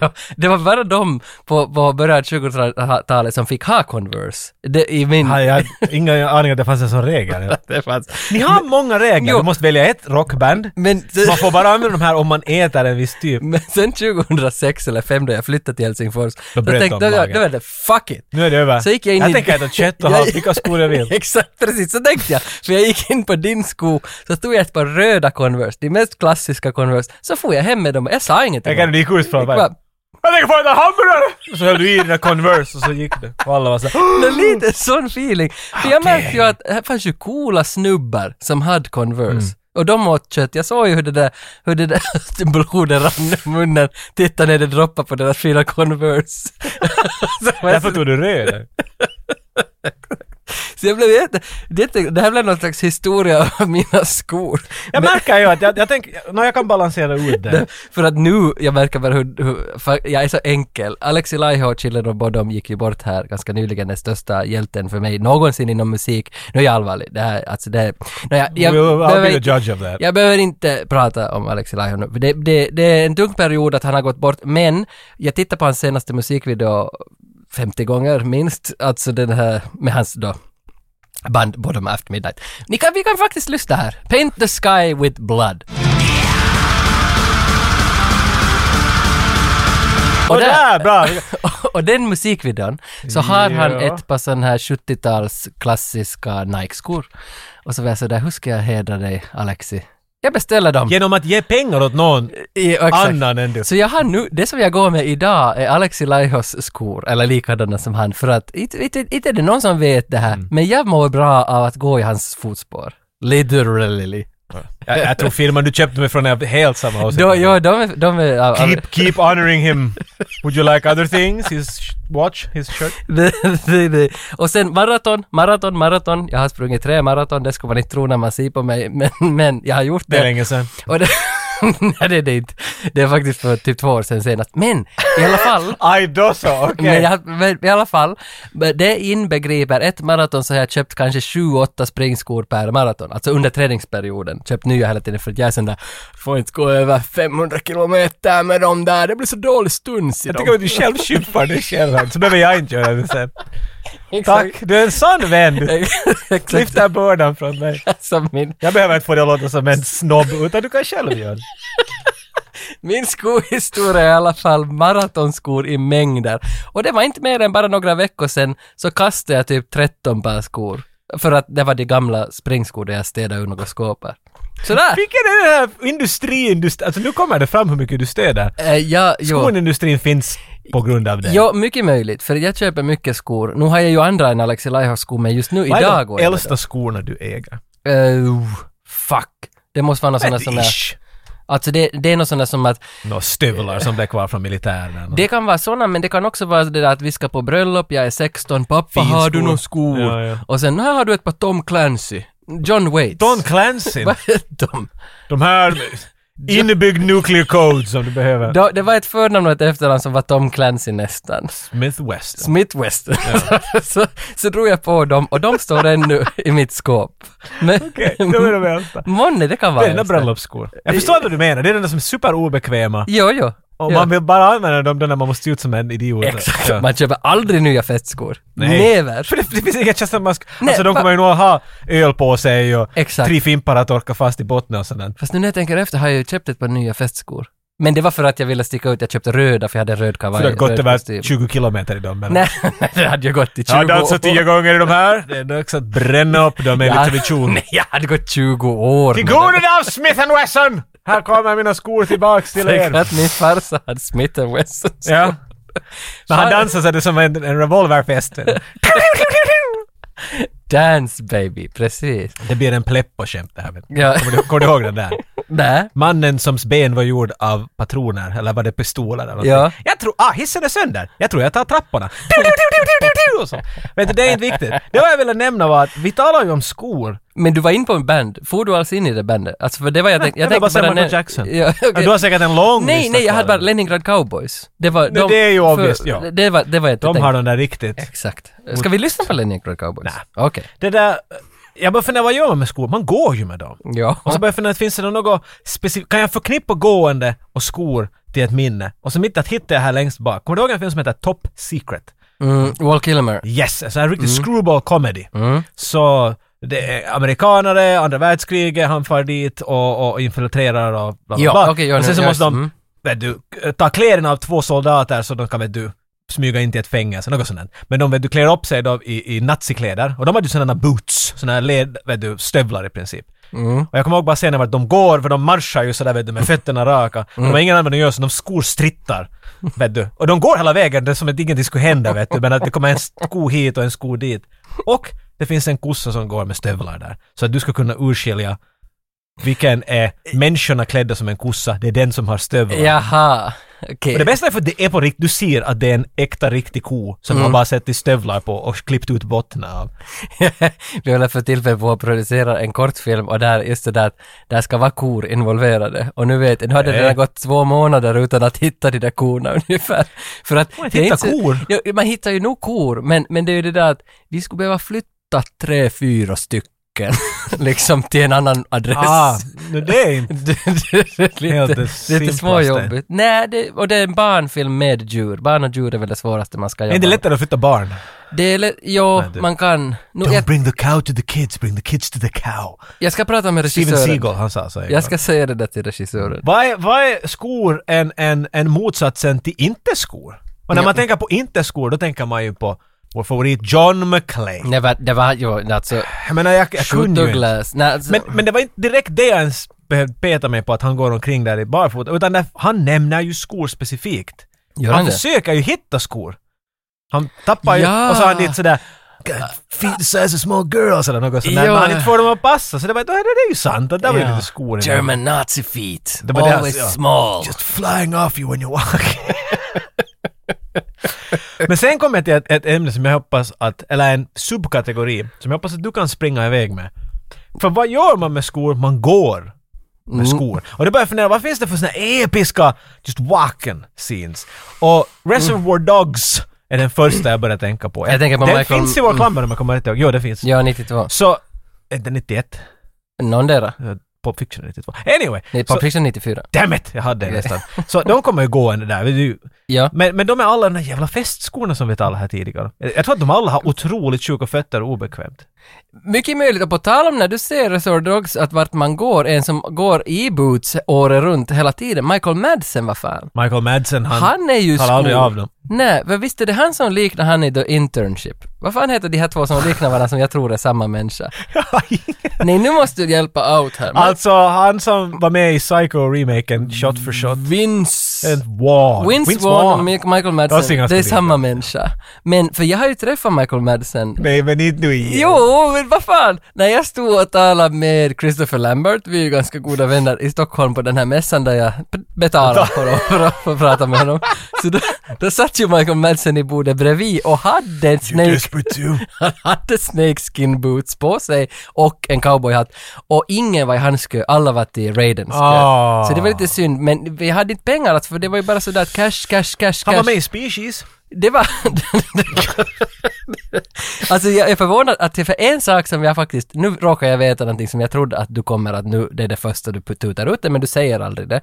Speaker 2: ja, det var bara de på, på början av 2000-talet som fick ha Converse. Det, I min...
Speaker 1: Nej, jag har ingen aning att det fanns en sån regel.
Speaker 2: Det fanns.
Speaker 1: Ni har många regler,
Speaker 2: Jo.
Speaker 1: du måste välja ett rockband.
Speaker 2: Men,
Speaker 1: Man får bara använda de här om man äter en viss typ.
Speaker 2: men sen 2006 eller 2005 då jag flyttade till Helsingfors,
Speaker 1: Då
Speaker 2: då,
Speaker 1: bröt
Speaker 2: tänkte
Speaker 1: de
Speaker 2: jag,
Speaker 1: lagen.
Speaker 2: då var det fuck it.
Speaker 1: Nu är det över.
Speaker 2: Så gick jag in i-
Speaker 1: tänker äta kött och ha vilka skor jag vill.
Speaker 2: Exakt, precis så tänkte jag. För jag gick in på din sko, så stod jag ett par röda Converse, de mest klassiska Converse, så får jag hem med dem, jag sa ingenting.
Speaker 1: Jag kan du gick ut från
Speaker 2: Jag
Speaker 1: bara,
Speaker 2: bara,
Speaker 1: Jag tänker få äta hamburgare! Så höll du i dina Converse och så gick det. Och alla var så här,
Speaker 2: Det är lite sån feeling. För jag märkte ju att här fanns ju coola snubbar som hade Converse. Och de åt kött. Jag såg ju hur det där, hur det där blodet rann ur munnen. Titta när det droppade på deras fina Converse. så, jag,
Speaker 1: Därför tog du röd.
Speaker 2: så jag blev jätte, jätte, det här blev någon slags historia av mina skor.
Speaker 1: Jag märker ju att jag, jag tänker, nå jag kan balansera ut det.
Speaker 2: För att nu, jag märker bara hur, hur för jag är så enkel. Alexi Laiho och Chile Robodom gick ju bort här ganska nyligen, den största hjälten för mig någonsin inom musik. Nu är jag allvarlig, det här, alltså det här, Nå, jag, jag,
Speaker 1: We'll- I'll
Speaker 2: behöver-
Speaker 1: be the judge of that.
Speaker 2: Jag behöver inte prata om Alexi Laiho nu. för Det, det, det är en tung period att han har gått bort, men jag tittar på hans senaste musikvideo 50 gånger minst, alltså den här med hans då band Bottom After Midnight. Ni kan, vi kan faktiskt lyssna här. Paint the sky with blood.
Speaker 1: Och där,
Speaker 2: där-
Speaker 1: bra!
Speaker 2: Och den musikvideon så har han
Speaker 1: Ja.
Speaker 2: ett par sådana här 70-tals klassiska Nike-skor. Och så var jag sådär, hur ska jag hedra dig Alexi? Jag beställer dem.
Speaker 1: Genom att ge pengar åt någon
Speaker 2: I- exakt.
Speaker 1: annan än du.
Speaker 2: Så jag har nu, det som jag går med idag är Alexi Laihos skor, eller likadana som han, för att inte, inte, inte är det någon som vet det
Speaker 1: Mm.
Speaker 2: här, men jag mår bra av att gå i hans fotspår. Literally.
Speaker 1: Jag, jag tror firman du köpte mig från är helt samma åsikt.
Speaker 2: Då, ja, de, är- de är... av- av-
Speaker 1: Keep, keep honoring him. Would you like other things? His sh- watch? His shirt?
Speaker 2: Nej, nej, nej. och sen maraton, maraton, maraton. Jag har sprungit tre maraton, det skulle man inte tro när man ser på mig, men, men jag har gjort det.
Speaker 1: Det är länge sedan.
Speaker 2: Och det, nej, det är det inte. Det är faktiskt för typ två år sedan senast. Men i alla fall.
Speaker 1: Aj då så, okej.
Speaker 2: Men, jag, men i alla fall, men det inbegriper ett maraton så har jag köpt kanske 7-8 springskor per maraton, alltså under träningsperioden. Köpt nya hela tiden för att jag är sån där, får inte gå över 500 kilometer med dem där, det blir så dålig stuns i
Speaker 1: Jag
Speaker 2: dem.
Speaker 1: tycker att du själv skympar dig själv här, så behöver jag inte göra det sen. Tack,
Speaker 2: Exakt.
Speaker 1: du är en sann vän. Lyft
Speaker 2: Exakt
Speaker 1: den bördan från mig.
Speaker 2: som min,
Speaker 1: Jag behöver inte få dig att låta som en snobb, utan du kan själv göra det.
Speaker 2: min skohistoria är i alla fall maratonskor i mängder. Och det var inte mer än bara några veckor sedan så kastade jag typ 13 par skor. För att det var de gamla springskor där jag städade ur några skåp. här. Sådär!
Speaker 1: Vilken är den här industrin du... st- Alltså nu kommer det fram hur mycket du stöder.
Speaker 2: Eh, ja, jo.
Speaker 1: Skonindustrin finns på grund av det.
Speaker 2: Ja, mycket möjligt, för jag köper mycket skor. Nu har jag ju andra än Alexi Laihos-skor, men just nu
Speaker 1: Vad
Speaker 2: idag
Speaker 1: är
Speaker 2: går
Speaker 1: de
Speaker 2: jag
Speaker 1: äldsta skorna du äger?
Speaker 2: med dem. Eh, fuck. Det måste vara något sånt som är...
Speaker 1: Ish.
Speaker 2: Alltså det, det är något sånt som att...
Speaker 1: Några stövlar som blev kvar från militären.
Speaker 2: Det kan vara såna, men det kan också vara det där att vi ska på bröllop, jag är 16, pappa
Speaker 1: Fin
Speaker 2: har
Speaker 1: skor."
Speaker 2: du några skor?
Speaker 1: Ja, ja.
Speaker 2: Och sen, här har du ett par Tom Clancy. John Waits.
Speaker 1: Don Clancy.
Speaker 2: Vad hette de?
Speaker 1: De här inbyggd nuclear code som du behöver.
Speaker 2: Då- Det var ett förnamn och ett efternamn som var Tom Clancy nästan.
Speaker 1: Smith West.
Speaker 2: Smith Weston. så, så drog jag på dem och de står ännu i mitt skåp. Men,
Speaker 1: Okej, då är de äldsta.
Speaker 2: Månne, det kan
Speaker 1: Det
Speaker 2: vara
Speaker 1: är dina
Speaker 2: just
Speaker 1: bröllopsskor. Jag förstår vad du menar, det är de där som är superobekväma.
Speaker 2: Jo, jo.
Speaker 1: Och
Speaker 2: Ja.
Speaker 1: man vill bara använda dem då när man måste se ut som en idiot.
Speaker 2: Exakt.
Speaker 1: Ja.
Speaker 2: Man köper aldrig nya festskor.
Speaker 1: Nej.
Speaker 2: Never.
Speaker 1: För det, det finns inga chans att man ska...
Speaker 2: Nej,
Speaker 1: Alltså de
Speaker 2: va-
Speaker 1: kommer ju nog ha öl på sig och
Speaker 2: Exakt.
Speaker 1: tre fimpar att torka fast i botten och sådant.
Speaker 2: Fast nu när jag tänker efter har jag ju köpt ett par nya festskor. Men det var för att jag ville sticka ut. Jag köpte röda för jag hade en röd
Speaker 1: För
Speaker 2: kavaj.
Speaker 1: du har gått
Speaker 2: röd
Speaker 1: över
Speaker 2: kostym.
Speaker 1: 20 kilometer i dem. eller?
Speaker 2: Nej, det hade jag gått i 20
Speaker 1: Jag har dansat tio
Speaker 2: år.
Speaker 1: gånger i de här. Det är dags att bränna upp dem enligt
Speaker 2: Ja.
Speaker 1: tradition.
Speaker 2: Nej, jag hade gått 20 år.
Speaker 1: Till
Speaker 2: med
Speaker 1: goden av Smith Wesson! Här kommer mina skor tillbaks till
Speaker 2: det. Tänk
Speaker 1: er.
Speaker 2: att min farsa hade Smith Wesson.
Speaker 1: Ja. Men han
Speaker 2: Fan.
Speaker 1: dansar så att det är som en, en revolverfest.
Speaker 2: Dance baby, precis.
Speaker 1: det blir en pleppo-skämt det här. vet du.
Speaker 2: Ja.
Speaker 1: Kommer du- Kommer du ihåg den där?
Speaker 2: Nej.
Speaker 1: Mannen soms ben var gjord av patroner, eller var det pistoler eller någonting.
Speaker 2: Ja.
Speaker 1: Jag tror, ah hissen är sönder! Jag tror jag tar trapporna. Du, du, du, du, du, du, du, och så. Vet du, det är inte viktigt. Det vad jag ville nämna var att vi talar ju om skor.
Speaker 2: Men du var in på en band. Får du alls in i det bandet? Alltså för det var jag tänkte...
Speaker 1: jag
Speaker 2: Jag
Speaker 1: vill bara
Speaker 2: tänkte
Speaker 1: säga
Speaker 2: bara...
Speaker 1: Michael
Speaker 2: nä-
Speaker 1: Jackson.
Speaker 2: Ja, okej.
Speaker 1: Du har säkert en lång
Speaker 2: Nej,
Speaker 1: lista
Speaker 2: nej, jag
Speaker 1: kvar.
Speaker 2: hade bara Leningrad Cowboys. Det var
Speaker 1: Nej, det är ju obvious, ja.
Speaker 2: Det var, det var jag inte
Speaker 1: De
Speaker 2: tänkte.
Speaker 1: har den där riktigt.
Speaker 2: Exakt. Ska vi lyssna på Leningrad Cowboys? Nej. Okej.
Speaker 1: Det där... Jag bara funderar, vad gör man med skor? Man går ju med dem. Och så
Speaker 2: Ja.
Speaker 1: börjar jag fundera, finns det något specifikt? Kan jag förknippa gående och skor till ett minne? Och så mitt att hitta jag här längst bak. Kommer du ihåg en film som heter Top Secret?
Speaker 2: Mm, Walt Kilmer.
Speaker 1: Yes! Alltså en riktig
Speaker 2: Mm.
Speaker 1: screwball comedy. Så det är amerikanare, andra världskriget, han far dit och, och infiltrerar och bla bla
Speaker 2: Ja,
Speaker 1: bla.
Speaker 2: okej, gör
Speaker 1: och
Speaker 2: nu,
Speaker 1: sen så
Speaker 2: gör
Speaker 1: måste de,
Speaker 2: mm.
Speaker 1: vet du, ta kläderna av två soldater så de kan, vet du, smyga in till ett fängelse, något sånt. där. Men de, vet du, klär upp sig då i, i nazikläder och de hade ju sådana boots, sådana här led, vet du, stövlar i princip.
Speaker 2: Mm.
Speaker 1: Och jag kommer ihåg bara scenen vart de går, för de marschar ju sådär vet du med fötterna raka. De har
Speaker 2: Mm.
Speaker 1: ingen användning att göra så de skor strittar. Vet du. Och de går hela vägen, det är som att ingenting skulle hända vet du. Men att det kommer en sko hit och en sko dit. Och det finns en kossa som går med stövlar där. Så att du ska kunna urskilja vilken är människorna klädda som en kossa, det är den som har stövlar.
Speaker 2: Jaha. Okej.
Speaker 1: Och det bästa är för att det är på riktigt, du ser att det är en äkta riktig ko som
Speaker 2: Mm.
Speaker 1: man bara sett i stövlar på och klippt ut botten av.
Speaker 2: Vi håller för tillfället på att producera en kortfilm och där, just det där att där ska vara kor involverade. Och nu vet nu har det
Speaker 1: Nej.
Speaker 2: redan gått två månader utan att hitta de där korna ungefär. För att...
Speaker 1: Man
Speaker 2: det är
Speaker 1: hittar
Speaker 2: inte så-
Speaker 1: kor.
Speaker 2: Ja, man hittar ju nog kor, men, men det är ju det där att vi skulle behöva flytta tre, fyra stycken liksom till en annan adress.
Speaker 1: Ah, nu det är inte...
Speaker 2: Det- det- det är
Speaker 1: Helt det
Speaker 2: lite, lite
Speaker 1: simplaste.
Speaker 2: småjobbigt. Nej, det, och det är en barnfilm med djur. Barn och djur är väl det svåraste man ska
Speaker 1: Är
Speaker 2: jobba
Speaker 1: inte det lättare att flytta barn?
Speaker 2: med. Det är lätt, jo,
Speaker 1: Nej, det-
Speaker 2: man kan. Nu,
Speaker 1: Don't
Speaker 2: jag,
Speaker 1: bring the cow to the kids, bring the kids to the cow.
Speaker 2: jag ska prata med
Speaker 1: Steven
Speaker 2: regissören.
Speaker 1: Seagal, han sa så. en
Speaker 2: Jag
Speaker 1: gång.
Speaker 2: ska säga det där till regissören.
Speaker 1: Vad är, vad är skor en, en, en motsatsen till inte skor? Och när man tänker på inte skor, då tänker man ju på vår favorit John McClane.
Speaker 2: Det var, det var ju alltså,
Speaker 1: Jag menar, jag, jag
Speaker 2: shoot
Speaker 1: kunde ju
Speaker 2: och
Speaker 1: inte.
Speaker 2: glass. Nej, alltså,
Speaker 1: Men, men det var inte direkt det jag ens behövt peta mig på att han går omkring där i barfota, utan där, han nämner ju skor specifikt.
Speaker 2: Gör
Speaker 1: han
Speaker 2: han det?
Speaker 1: försöker ju hitta skor. Han tappar ju,
Speaker 2: Ja.
Speaker 1: och så har han dit sådär "God, Feet the size of small girls eller något sånt där,
Speaker 2: Ja.
Speaker 1: men han inte får dem att passa. Så det, var, det är ju sant, att där var ju
Speaker 2: Ja.
Speaker 1: lite skor i dem.
Speaker 2: German nazi feet.
Speaker 1: Det var det
Speaker 2: Always
Speaker 1: han sa.
Speaker 2: small.
Speaker 1: Just flying off you when you walk. Men sen kommer jag till ett, ett ämne som jag hoppas att, eller en subkategori, som jag hoppas att du kan springa iväg med. För vad gör man med skor? Man går
Speaker 2: Mm.
Speaker 1: med skor. Och det börjar jag fundera, vad finns det för såna episka just walking scenes? Och Reservoir Dogs är den första jag börjar tänka på.
Speaker 2: Mm. Jag tänker på
Speaker 1: den
Speaker 2: Michael-
Speaker 1: finns i vår klammer om jag kommer rätt ihåg. Jo, det finns.
Speaker 2: Ja, 92.
Speaker 1: Så, eh, är det 91?
Speaker 2: Någondera.
Speaker 1: Pop Fiction är 92. Anyway!
Speaker 2: Nej,
Speaker 1: så-
Speaker 2: Pulp Fiction 94.
Speaker 1: Damn it! Jag hade det nästan. Så de kommer ju gående där. vet du.
Speaker 2: Ja.
Speaker 1: Men, men de är alla de där jävla festskorna som vi talade här tidigare. Jag jag tror att de alla har otroligt sjuka fötter och obekvämt.
Speaker 2: Mycket möjligt, och på tal om när du ser Resort Dogs, att vart man går, en som går i boots året runt hela tiden, Michael Madsen, vad fan.
Speaker 1: Michael Madsen, han,
Speaker 2: Han är ju
Speaker 1: talar aldrig
Speaker 2: skor.
Speaker 1: av dem.
Speaker 2: Nej, för visst är det han som liknar han i The Internship? Vad fan heter de här två som liknar varandra som jag tror är samma människa? Nej, nu måste du hjälpa out här. Man,
Speaker 1: alltså, han som var med i Psycho-remaken, shot for shot.
Speaker 2: Vince...
Speaker 1: En Vaughn.
Speaker 2: Vince Vaughn och Mi-
Speaker 1: Jag
Speaker 2: Michael
Speaker 1: ser
Speaker 2: Madsen,
Speaker 1: ganska
Speaker 2: det är
Speaker 1: lika.
Speaker 2: samma människa. Men, för jag har ju träffat Michael Madsen
Speaker 1: Nej, men inte nu igen.
Speaker 2: Jo, men vad fan! När jag stod och talade med Christopher Lambert, vi är ju ganska goda vänner i Stockholm på den här mässan där jag p- betalade för att, för att, för att prata med honom. Så då, då satt ju Michael Madsen i bordet bredvid och hade snake, han hade snakeskin boots på sig och en cowboyhatt. Och ingen var i hans kö, alla var till Raidens kö.
Speaker 1: Ah.
Speaker 2: Så det var lite synd, men vi hade inte pengar alltså, för det var ju bara sådär att cash, cash, cash,
Speaker 1: Han
Speaker 2: cash.
Speaker 1: var med i Species.
Speaker 2: Det var... alltså jag är förvånad att det är för en sak som jag faktiskt, nu råkar jag veta någonting som jag trodde att du kommer att nu, det är det första du tutar ut det, men du säger aldrig det.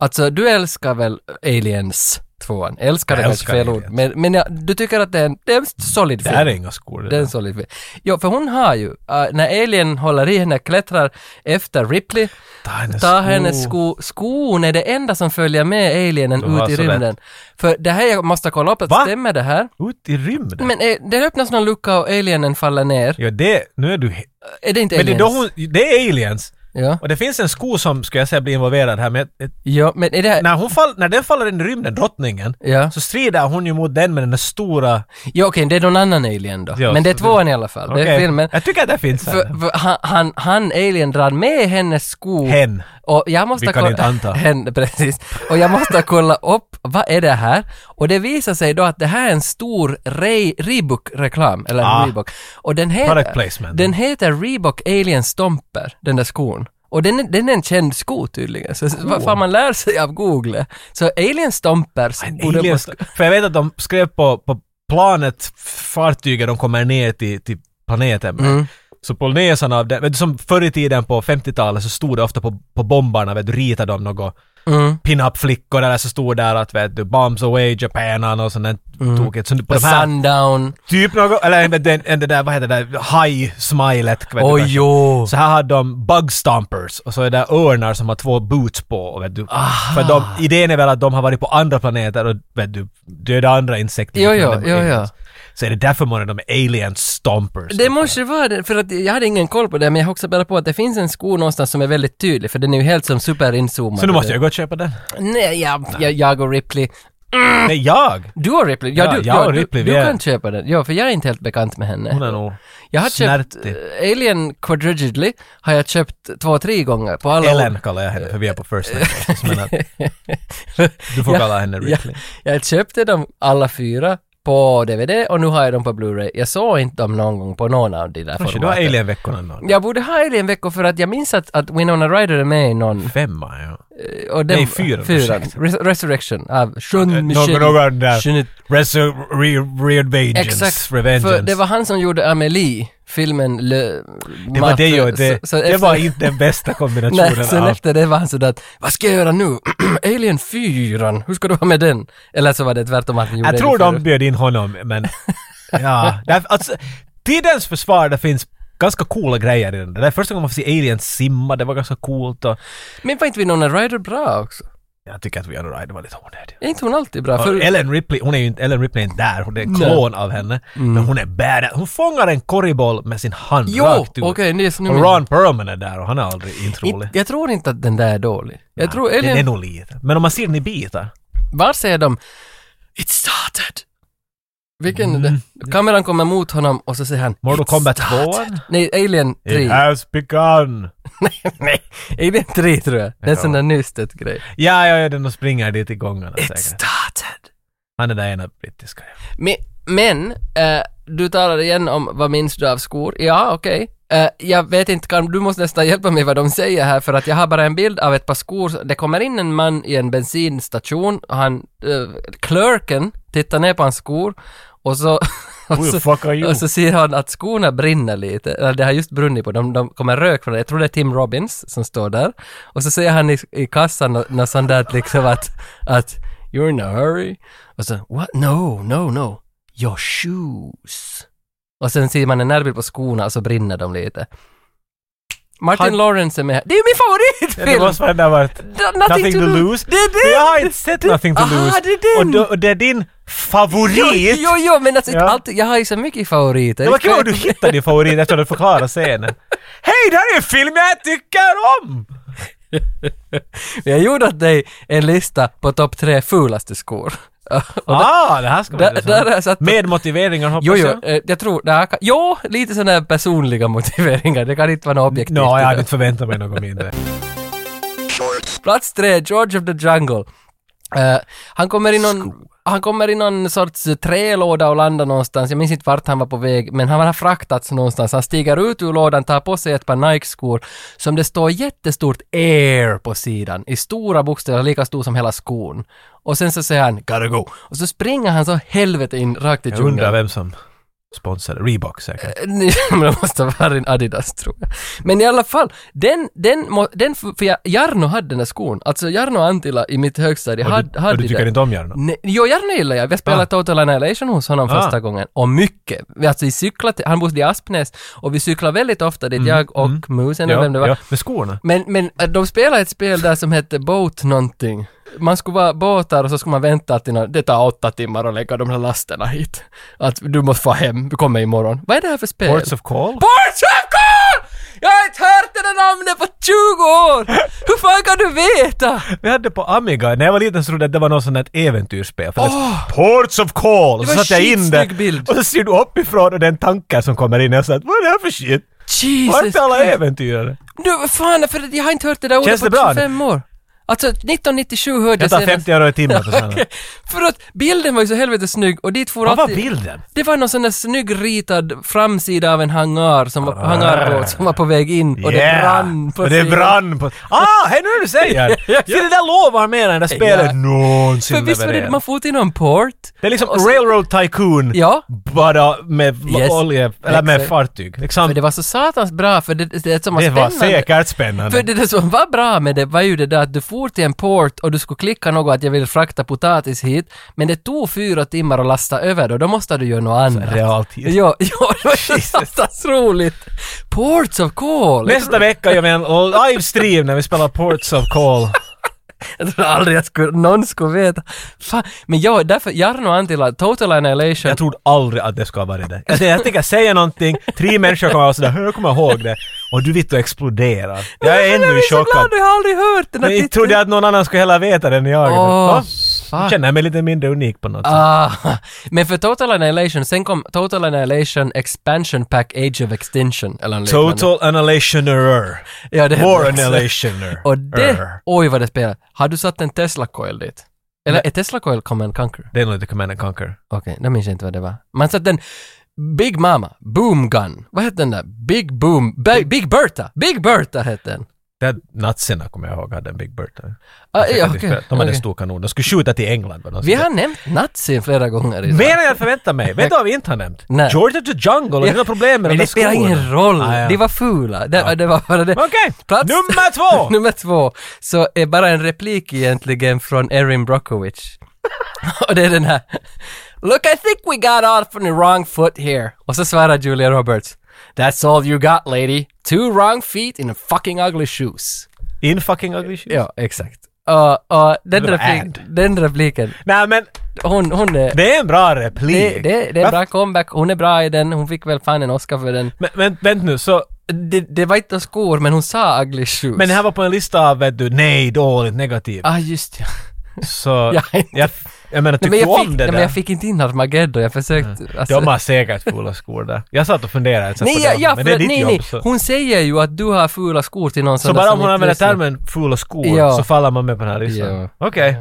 Speaker 2: Alltså du älskar väl Aliens 2? Älskar det
Speaker 1: Jag
Speaker 2: kanske
Speaker 1: älskar
Speaker 2: fel ord,
Speaker 1: Aliens.
Speaker 2: men, men ja, du tycker att det är en, det är en solid
Speaker 1: Det
Speaker 2: film.
Speaker 1: här är inga skor.
Speaker 2: Det är en solid film. Ja, för hon har ju, äh, när Alien håller i henne, klättrar efter Ripley,
Speaker 1: Ta hennes
Speaker 2: Ta hennes sko. Skon är det enda som följer med alienen
Speaker 1: Du har
Speaker 2: ut i
Speaker 1: så
Speaker 2: rymden.
Speaker 1: rätt.
Speaker 2: För det här, jag måste kolla upp att
Speaker 1: Va?
Speaker 2: stämmer det här?
Speaker 1: Ut i rymden.
Speaker 2: Men eh, det öppnas någon lucka och alienen faller ner.
Speaker 1: ja, det... Nu är du... he-
Speaker 2: Är det inte
Speaker 1: Men det är,
Speaker 2: aliens?
Speaker 1: då hon, det är aliens.
Speaker 2: Ja.
Speaker 1: Och det finns en sko som, skulle jag säga, blir involverad här, men jag-
Speaker 2: ja, men är det här...
Speaker 1: när, hon fall, när den faller in i rymden, drottningen,
Speaker 2: Ja,
Speaker 1: så strider hon ju mot den med den där stora...
Speaker 2: ja okej, det är någon annan alien då.
Speaker 1: Ja,
Speaker 2: men det är
Speaker 1: så
Speaker 2: tvåan i alla fall. Det är
Speaker 1: Okej.
Speaker 2: filmen.
Speaker 1: Jag tycker att det finns en.
Speaker 2: För, för han, han, han, alien, drar med hennes sko.
Speaker 1: Hen.
Speaker 2: Och jag måste
Speaker 1: Vi kan
Speaker 2: kolla-
Speaker 1: inte anta.
Speaker 2: Hen, precis. Och jag måste kolla upp, vad är det här? Och det visar sig då att det här är en stor Re- Reebok-reklam, eller
Speaker 1: Ah.
Speaker 2: Reebok. Och den
Speaker 1: Product
Speaker 2: heter,
Speaker 1: placement.
Speaker 2: den heter Reebok Alien Stomper, den där skon. Och den är, den är en känd sko tydligen, så vad fan man lär sig av Google. Så Alien Stompers
Speaker 1: En
Speaker 2: borde-
Speaker 1: alien st- För jag vet att de skrev på, på planet, fartyget de kommer ner till, till planeten med.
Speaker 2: Mm.
Speaker 1: Så på näsan av den, vet du, som förr i tiden på 50-talet så stod det ofta på, på bombarna, vet du, ritade de något
Speaker 2: Mm.
Speaker 1: pin-up flickor eller så stod där att vet du, bombs away Japan och något sånt där
Speaker 2: Mm.
Speaker 1: tokigt. Så på de här,
Speaker 2: Sundown.
Speaker 1: typ något, eller en, en, en det där, vad heter det, haj-smilet. vet du,
Speaker 2: Oj,
Speaker 1: kanske.
Speaker 2: jo.
Speaker 1: Så här har de bug stompers och så är det örnar som har två boots på. och Vet du.
Speaker 2: Ah.
Speaker 1: För de, idén är väl att de har varit på andra planeter och vet du, döda andra insekter.
Speaker 2: Jo, jo,
Speaker 1: Men de
Speaker 2: jo,
Speaker 1: är
Speaker 2: jo.
Speaker 1: aliens. Så är det därför man är de är alien stompers.
Speaker 2: Det måste vara det, för att jag hade ingen koll på det, men jag har också bara på att det finns en sko någonstans som är väldigt tydlig, för den är ju helt som superinzoomad.
Speaker 1: så nu måste jag gå och köpa den.
Speaker 2: Nej, jag, jag, jag och Ripley.
Speaker 1: Nej, jag!
Speaker 2: Du och Ripley? Ja,
Speaker 1: Ja,
Speaker 2: du,
Speaker 1: jag och
Speaker 2: du,
Speaker 1: Ripley,
Speaker 2: du
Speaker 1: vi är-
Speaker 2: kan köpa den. Ja, för jag är inte helt bekant med henne.
Speaker 1: Hon är nog...
Speaker 2: jag har köpt
Speaker 1: snärtig.
Speaker 2: eh, Alien Quadrigidly, har jag köpt två, tre gånger på alla
Speaker 1: Ellen kallar jag henne för vi är på first name. Så menar jag, Du får
Speaker 2: Ja,
Speaker 1: kalla henne Ripley.
Speaker 2: Jag, jag köpte dem alla fyra på DVD och nu har jag dem på Blu-ray. Jag såg inte dem någon gång på någon av de där
Speaker 1: Kanske du har
Speaker 2: formaten.
Speaker 1: alien-veckorna någon.
Speaker 2: Jag borde ha Alien-veckor för att jag minns att, att Winona Ryder är med i någon
Speaker 1: Femma, ja.
Speaker 2: Och den,
Speaker 1: Nej, fyran,
Speaker 2: Fyran.
Speaker 1: ursäkta.
Speaker 2: Res- Resurrection av Sean
Speaker 1: Någon, någon där...
Speaker 2: Sean-
Speaker 1: Resur- re- Reared Vengeance.
Speaker 2: Exakt.
Speaker 1: Revengeance.
Speaker 2: För det var han som gjorde Amelie, filmen Le...
Speaker 1: Det var det ju, det, det var inte den bästa kombinationen
Speaker 2: Nej, sen
Speaker 1: av...
Speaker 2: efter det var han sådär att vad ska jag göra nu? Alien 4, hur ska du ha med den? Eller så var det tvärtom att han gjorde
Speaker 1: Jag tror
Speaker 2: Alien
Speaker 1: de
Speaker 2: 4.
Speaker 1: bjöd in honom, men... Ja, där, alltså, tidens försvar, det finns ganska coola grejer i den. Det är första gången man får se aliens simma, det var ganska coolt och...
Speaker 2: Men var inte Winona Ryder bra också?
Speaker 1: Jag tycker att Winona Ryder var lite onödig.
Speaker 2: Är inte hon alltid bra?
Speaker 1: Och
Speaker 2: För,
Speaker 1: Ellen Ripley, hon är ju inte, Ellen Ripley är inte där, hon är en klon av henne. Men hon är badass. Hon fångar en korgboll med sin hand
Speaker 2: Mm. Jo,
Speaker 1: rakt ut.
Speaker 2: okej, det är så nu
Speaker 1: typ. och
Speaker 2: menar
Speaker 1: Ron Perlman är där och han är aldrig inte rolig.
Speaker 2: Inte- jag tror inte att den där är dålig. Jag tror,
Speaker 1: Den är
Speaker 2: Ellen,
Speaker 1: nog lite. Men om man ser den i bitar.
Speaker 2: var säger de “It started”? Vilken är det? Kameran kommer mot honom och så säger han
Speaker 1: Mm, Mortal
Speaker 2: "It
Speaker 1: Kombat
Speaker 2: started."
Speaker 1: 2?
Speaker 2: Nej, Alien 3.
Speaker 1: It has begun!
Speaker 2: Nej, Alien 3 tror jag. Det är en sån där Nystedt-grej.
Speaker 1: Ja, ja, ja, den springer dit i gångarna
Speaker 2: It
Speaker 1: säkert.
Speaker 2: started.
Speaker 1: Han är där ena brittiska. ja.
Speaker 2: Men, men eh, du talade igen om vad minns du av skor? Ja, okej. Eh, jag vet inte, kan, du måste nästan hjälpa mig vad de säger här för att jag har bara en bild av ett par skor. Det kommer in en man i en bensinstation och han, eh, clerken tittar ner på hans skor och så och
Speaker 1: Who the
Speaker 2: så,
Speaker 1: fuck are you?
Speaker 2: och så ser han att skorna brinner lite, eller det har just brunnit på dem, de kommer rök från det. Jag tror det är Tim Robbins som står där. Och så säger han i, i kassan nå- något sånt där liksom att, att “You're in a hurry” och så “What? No, no, no. Your shoes”. Och sen ser man en närbild på skorna och så brinner de lite. Martin
Speaker 1: Han-
Speaker 2: Lawrence är med här. Det är ju min
Speaker 1: Ja, Det
Speaker 2: favoritfilm!
Speaker 1: måste väl ha varit
Speaker 2: Da- Nothing,
Speaker 1: Nothing to lose.
Speaker 2: Det är
Speaker 1: Men
Speaker 2: det!
Speaker 1: jag har inte sett Nothing to
Speaker 2: Aha,
Speaker 1: lose.
Speaker 2: det är den.
Speaker 1: Och, då, och det är din favorit!
Speaker 2: Jo, jo, jo, men alltså, inte
Speaker 1: Ja.
Speaker 2: alltid, jag har ju så mycket favoriter.
Speaker 1: Det var kul att du hittade din favorit efter att du förklarade scenen. Hej, det här är en film jag tycker om!
Speaker 2: Jag gjorde åt dig en lista på topp tre fulaste skor. Och
Speaker 1: Ah, det här ska
Speaker 2: Där-
Speaker 1: vara intressant.
Speaker 2: där har jag satt-
Speaker 1: Med motiveringar hoppas
Speaker 2: Jo, jo,
Speaker 1: jag.
Speaker 2: eh, jag tror, det här kan, jo, lite sådana här personliga motiveringar, det kan inte vara något objektivt.
Speaker 1: Nå, jag hade inte förväntat mig något mindre.
Speaker 2: Plats tre, George of the Jungle. Eh, han kommer i någon, han kommer i någon sorts eh, trälåda och landar någonstans, jag minns inte vart han var på väg, men han har fraktats någonstans. Han stiger ut ur lådan, tar på sig ett par Nike-skor som det står jättestort “Air” på sidan, i stora bokstäver, lika stor som hela skon. Och sen så säger han “Gotta go” och så springer han så helvete in rakt i
Speaker 1: Jag undrar
Speaker 2: djungeln.
Speaker 1: vem som sponsrade. Reebok säkert.
Speaker 2: Nej, men det måste ha varit en Adidas tror jag. Men i alla fall, den, den, må- den för jag, Jarno hade den där skon. Alltså Jarno och Antila i mitt högstadie
Speaker 1: Och du,
Speaker 2: hade, hade
Speaker 1: och du tycker
Speaker 2: den.
Speaker 1: inte om Jarno?
Speaker 2: Nej, jo, Jarno gillar jag. Vi spelade
Speaker 1: Ah.
Speaker 2: Total Annihilation hos honom
Speaker 1: Ah.
Speaker 2: första gången. Och mycket. Vi, alltså vi cyklade, till- han bodde i Aspnäs och vi cyklade väldigt ofta dit, jag och Musen eller vem det var.
Speaker 1: Mm, ja, med skorna.
Speaker 2: Men, men äh, de spelade ett spel där som hette Boat någonting. Man skulle vara båtar och så skulle man vänta att dina, det tar åtta timmar att lägga de här lasterna hit. Att du måste få hem, du kommer imorgon. Vad är det här för spel?
Speaker 1: Ports of
Speaker 2: Eh,
Speaker 1: Call?
Speaker 2: Ports of Call! Jag har inte hört det där namnet på 20 år! Hur fan kan du veta?
Speaker 1: Vi hade på Amiga, när jag var liten så trodde jag att det var något sånt där ett äventyrsspel. För det stod Ports of Call! Och
Speaker 2: Det
Speaker 1: så
Speaker 2: var
Speaker 1: satte jag in det.
Speaker 2: skitsnygg bild.
Speaker 1: Och så ser du uppifrån och den tanken som kommer in. Jag sa att vad är det här för shit? Var
Speaker 2: Jesus
Speaker 1: inte alla
Speaker 2: Christ.
Speaker 1: äventyrare?
Speaker 2: Du, vad fan, för jag har inte hört det där ordet
Speaker 1: Känns
Speaker 2: på
Speaker 1: det bra nu?
Speaker 2: 25 år. Alltså 1997 hörde
Speaker 1: Jag
Speaker 2: jag
Speaker 1: tar
Speaker 2: senast.
Speaker 1: 50 euro i timmen för sådana.
Speaker 2: Okej, För att bilden var ju så helvete snygg och dit for
Speaker 1: Vad var
Speaker 2: alltid...
Speaker 1: bilden?
Speaker 2: Det var någon sån där snygg ritad framsida av en hangar som var, hangarbåt som var på väg in och det brann på
Speaker 1: Och det
Speaker 2: sidan.
Speaker 1: brann på... Ah, hej nu är det du säger! Så det där lovar mer än det där spelet
Speaker 2: Ja.
Speaker 1: någonsin
Speaker 2: För visst var det,
Speaker 1: levererar.
Speaker 2: man får till någon port.
Speaker 1: Det är liksom
Speaker 2: och så-
Speaker 1: Railroad Tycoon,
Speaker 2: Ja.
Speaker 1: bara med
Speaker 2: Yes.
Speaker 1: olje, eller med
Speaker 2: Exakt.
Speaker 1: fartyg. Liksom,
Speaker 2: Men det var så satans bra för det, det som var
Speaker 1: det var
Speaker 2: spännande.
Speaker 1: säkert spännande.
Speaker 2: För det, det som var bra med det var ju det där att du for till en port och du skulle klicka något att jag vill frakta potatis hit, men det tog fyra timmar att lasta över då, då måste du göra något annat.
Speaker 1: realtid.
Speaker 2: Ja, ja det var så satans roligt. Ports of call!
Speaker 1: Nästa vecka gör vi en livestream när vi spelar Ports of Call.
Speaker 2: Jag tror aldrig att skulle, någon skulle veta. Fan. Men jag, därför, Jarno Antila, Total Annihilation.
Speaker 1: Jag trodde aldrig att det skulle ha varit det. Jag, tänkte- jag tänker säga någonting, tre människor kommer vara sådär “jag kommer ihåg det” och du vitt och exploderar. Jag är ännu
Speaker 2: Jag
Speaker 1: i
Speaker 2: är så glad,
Speaker 1: chockad.
Speaker 2: jag har aldrig hört den
Speaker 1: Men
Speaker 2: här
Speaker 1: inte trodde jag att någon annan skulle heller veta det än jag. Men,
Speaker 2: Åh,
Speaker 1: va?
Speaker 2: fuck.
Speaker 1: Jag känner mig lite mindre unik på något sätt.
Speaker 2: Ah, men för Total Annihilation, sen kom Total Annihilation Expansion Pack Age of Extinction eller något liknande.
Speaker 1: Total annihilationerer.
Speaker 2: Ja, det
Speaker 1: War
Speaker 2: också.
Speaker 1: annihilationer.
Speaker 2: Och det, oj vad det spelar. Har du satt en Tesla Coil dit? Eller är Tesla Coil Command Conquer?
Speaker 1: Det är nog lite Command and Conquer.
Speaker 2: Okej, då minns jag inte vad det var. Man satte en Big Mama, Boom Gun. Vad hette den där? Big Boom, Bi- Big Bertha. Big Bertha hette den.
Speaker 1: Det nazierna kommer jag ihåg hade en Big Bertha.
Speaker 2: Ah, ja,
Speaker 1: De
Speaker 2: okej,
Speaker 1: hade en
Speaker 2: okej.
Speaker 1: stor kanon. De skulle skjuta till England. vad de
Speaker 2: Vi
Speaker 1: skulle-
Speaker 2: har nämnt nazin flera gånger idag.
Speaker 1: Mer än jag förväntat mig. Vet du vad vi inte har nämnt?
Speaker 2: Nej.
Speaker 1: George of the Jungle och
Speaker 2: Ja,
Speaker 1: dina problem med
Speaker 2: Men
Speaker 1: de där
Speaker 2: det spelar
Speaker 1: skorna.
Speaker 2: ingen roll.
Speaker 1: Ah, ja.
Speaker 2: De var fula. Det, det var bara det.
Speaker 1: Men Okej,
Speaker 2: Plats-
Speaker 1: nummer två!
Speaker 2: Nummer två, så är bara en replik egentligen från Erin Brockovich. och det är den här. Look, I think we got off on the wrong foot here. Och så svarar Julia Roberts. That's all you got lady. Two wrong feet in a fucking ugly shoes.
Speaker 1: In fucking ugly shoes.
Speaker 2: Ja, exakt. Och, och den,
Speaker 1: Det var
Speaker 2: replik,
Speaker 1: and.
Speaker 2: den repliken,
Speaker 1: Nej men,
Speaker 2: hon, hon är...
Speaker 1: det är en bra replik.
Speaker 2: Det, det, det är en bra comeback, hon är bra i den, hon fick väl fan en Oscar för den.
Speaker 1: Men, men vänta nu, så...
Speaker 2: Det, det var inte skor, men hon sa ugly shoes.
Speaker 1: Men det här var på en lista av vet du, nej, dåligt, negativt.
Speaker 2: Ah, just ja.
Speaker 1: Så...
Speaker 2: Jag har inte-
Speaker 1: jag, jag menar,
Speaker 2: Nej,
Speaker 1: tyckte
Speaker 2: men,
Speaker 1: du
Speaker 2: jag
Speaker 1: om
Speaker 2: fick,
Speaker 1: det
Speaker 2: nej,
Speaker 1: där?
Speaker 2: men jag fick inte in Armageddon, jag försökte... alltså-
Speaker 1: De har säkert fula skor där. Jag satt och funderade ett tag på
Speaker 2: Nej, ja,
Speaker 1: dem,
Speaker 2: ja,
Speaker 1: men det är
Speaker 2: för,
Speaker 1: ditt
Speaker 2: nej,
Speaker 1: jobb.
Speaker 2: nej.
Speaker 1: Så,
Speaker 2: Hon säger ju att du har fula skor till någon
Speaker 1: så
Speaker 2: sån där
Speaker 1: bara
Speaker 2: som
Speaker 1: om hon
Speaker 2: inte
Speaker 1: använder
Speaker 2: lyssnar.
Speaker 1: termen fula skor
Speaker 2: Ja.
Speaker 1: så faller man med på den här listan?
Speaker 2: Ja.
Speaker 1: Okej.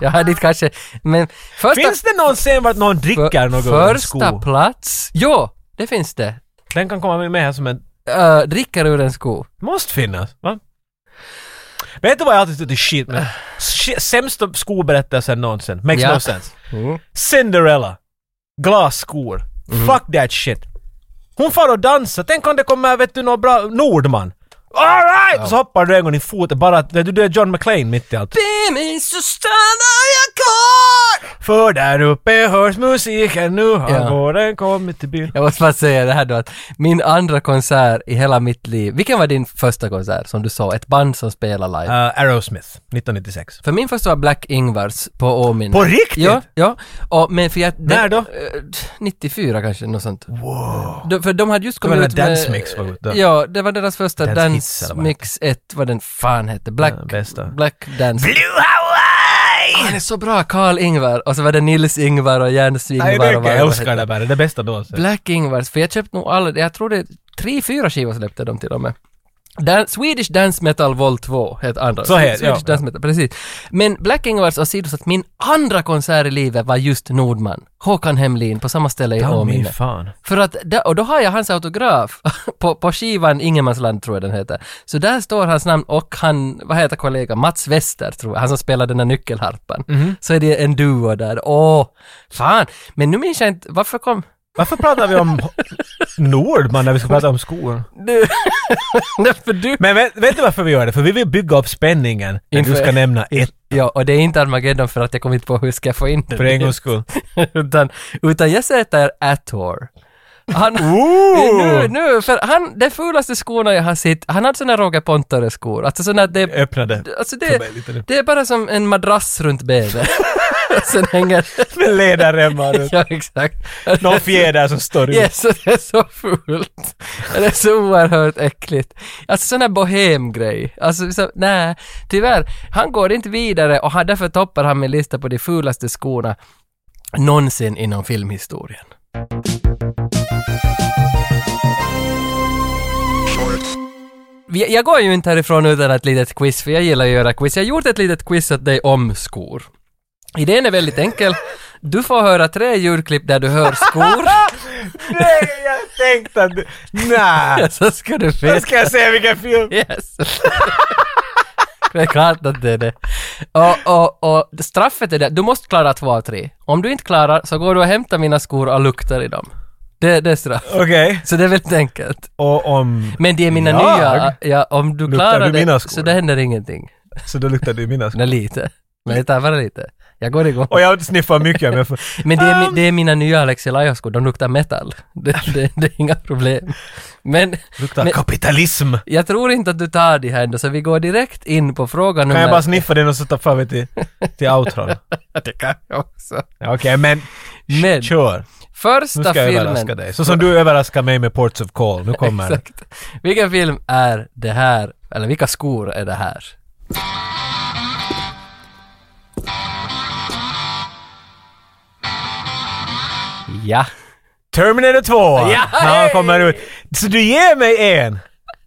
Speaker 2: Jag hade inte kanske... Men första...
Speaker 1: Finns det någon scen vart någon dricker något ur en
Speaker 2: Första
Speaker 1: sko?
Speaker 2: plats. Jo, det finns det.
Speaker 1: Den kan komma med här som en...
Speaker 2: Uh, dricker ur en sko.
Speaker 1: Måste finnas, va? Vet du vad jag alltid tyckte är shit med? Shit, Sämsta skoberättelsen någonsin. Makes
Speaker 2: Ja.
Speaker 1: no sense.
Speaker 2: Mm.
Speaker 1: Cinderella. Glasskor. Fuck that shit. Hon far och dansar. Tänk om det kommer, vet du, någon bra Nordman. Alright! Så hoppar du en gång i foten bara att, du, du är John McClane mitt i allt.
Speaker 2: Be min så stannar jag kvar!
Speaker 1: För där uppe hörs musiken nu, har
Speaker 2: Ja.
Speaker 1: våren kommit till byn.
Speaker 2: Jag måste bara säga det här då att min andra konsert i hela mitt liv, vilken var din första konsert som du såg? Ett band som spelar live?
Speaker 1: Uh, Aerosmith, 1996.
Speaker 2: För min första var Black Ingvars på Åminne.
Speaker 1: På riktigt?
Speaker 2: Mm. Ja, ja. Och, men för jag,
Speaker 1: När då?
Speaker 2: eh, 94 kanske, något sånt. Wow. De, för de hade just
Speaker 1: var
Speaker 2: kommit
Speaker 1: när
Speaker 2: ut med...
Speaker 1: Dance Mix var ute.
Speaker 2: Ja, det var deras första
Speaker 1: Dance
Speaker 2: Dance,
Speaker 1: Hits eller vad det
Speaker 2: Mix 1, vad den fan hette. Black...
Speaker 1: Den bästa.
Speaker 2: Black Dance...
Speaker 1: Blue Hawaii!
Speaker 2: Han är så bra, Karl Ingvar. Och så var det Nils Ingvar och Jens Ingvar
Speaker 1: Nej,
Speaker 2: och
Speaker 1: det
Speaker 2: vad
Speaker 1: är, jag
Speaker 2: de
Speaker 1: älskar
Speaker 2: hette.
Speaker 1: det bara. Det är bästa någonsin.
Speaker 2: Black Ingvars, för jag köpte nog alla, jag tror det är tre, fyra skivor släppte de till och med. Dan- Swedish Dance Metal Vol 2 heter andra.
Speaker 1: Så heter-
Speaker 2: Swedish
Speaker 1: ja.
Speaker 2: Dance Metal, precis. Men Black Ingvars åsidosatt, min andra konsert i livet var just Nordman. Håkan Hemlin på samma ställe i
Speaker 1: Ja, min
Speaker 2: Åminne.
Speaker 1: fan.
Speaker 2: För att, där- och då har jag hans autograf på, på skivan Ingenmansland tror jag den heter. Så där står hans namn och han, vad heter kollegan, Mats Wester tror jag, han som spelar den där nyckelharpan.
Speaker 1: Mhm.
Speaker 2: Så är det en duo där, åh, fan. Men nu minns jag inte, varför kom...
Speaker 1: Varför pratar vi om Nordman när vi ska prata om skor?
Speaker 2: Du... Nej, för du...
Speaker 1: Men vet, vet du varför vi gör det? För vi vill bygga upp spänningen när du
Speaker 2: Inför-
Speaker 1: ska nämna ett
Speaker 2: Ja, och det är inte Armageddon för att jag kom inte på hur jag ska få in det.
Speaker 1: för en gångs skull.
Speaker 2: utan, utan jag sätter Ator. Han,
Speaker 1: Ooh!
Speaker 2: nu, nu, för han, de fulaste skorna jag har sett, han hade såna Roger Pontare-skor. Alltså såna, det,
Speaker 1: Öppnade.
Speaker 2: alltså
Speaker 1: För
Speaker 2: det,
Speaker 1: mig lite nu.
Speaker 2: det är bara som en madrass runt benet. Och Sen hänger...
Speaker 1: Med ledarremmar ut.
Speaker 2: ja, exakt.
Speaker 1: Någon fjäder som står ut.
Speaker 2: Yes, och det är så fult. Och Det är så oerhört äckligt. Alltså sån här bohemgrej. Alltså, så, nej, tyvärr. Han går inte vidare och har därför toppar han min lista på de fulaste skorna någonsin inom filmhistorien. Vi- Jag går ju inte härifrån utan ett litet quiz, för jag gillar att göra quiz. Jag har gjort ett litet quiz åt dig om skor. Idén är väldigt enkel. Du får höra tre ljudklipp där du hör skor.
Speaker 1: Nej, jag tänkte att du... Nej.
Speaker 2: så ska du
Speaker 1: Nu
Speaker 2: fiska.
Speaker 1: ska jag se vilken film.
Speaker 2: Yes. Det är klart att det är det. Och, och, och straffet är det, du måste klara två av tre. Om du inte klarar så går du och hämtar mina skor och luktar i dem. Det, det är straff.
Speaker 1: Okej.
Speaker 2: Så det är väldigt enkelt.
Speaker 1: Och om...
Speaker 2: Men det är mina
Speaker 1: Jag?
Speaker 2: nya, ja, om du
Speaker 1: Luktar
Speaker 2: klarar
Speaker 1: du mina
Speaker 2: det
Speaker 1: skor?
Speaker 2: så det händer ingenting.
Speaker 1: Så då luktar du mina skor.
Speaker 2: Nej, lite. Men det tar bara lite. Jag går igång.
Speaker 1: Och jag sniffar mycket men jag får...
Speaker 2: Men det är, mi- det är mina nya Alexi Lajos-skor, de luktar metall. Det, det, det är inga problem. Men
Speaker 1: Luktar
Speaker 2: Men-
Speaker 1: kapitalism.
Speaker 2: jag tror inte att du tar det här ändå, så vi går direkt in på fråga nummer...
Speaker 1: Kan jag bara sniffa den och så ta fram det till, till outron? Ja,
Speaker 2: Det kan jag också.
Speaker 1: Okej, men
Speaker 2: Men
Speaker 1: kör. Nu
Speaker 2: första
Speaker 1: ska jag
Speaker 2: filmen...
Speaker 1: överraska dig. Så som du överraskar mig med Ports of Call. Nu kommer det.
Speaker 2: Exakt. Vilken film är det här? Eller vilka skor är det här? Ja.
Speaker 1: Terminator 2!
Speaker 2: Ja,
Speaker 1: när han
Speaker 2: hej!
Speaker 1: kommer ut. Så du ger mig en!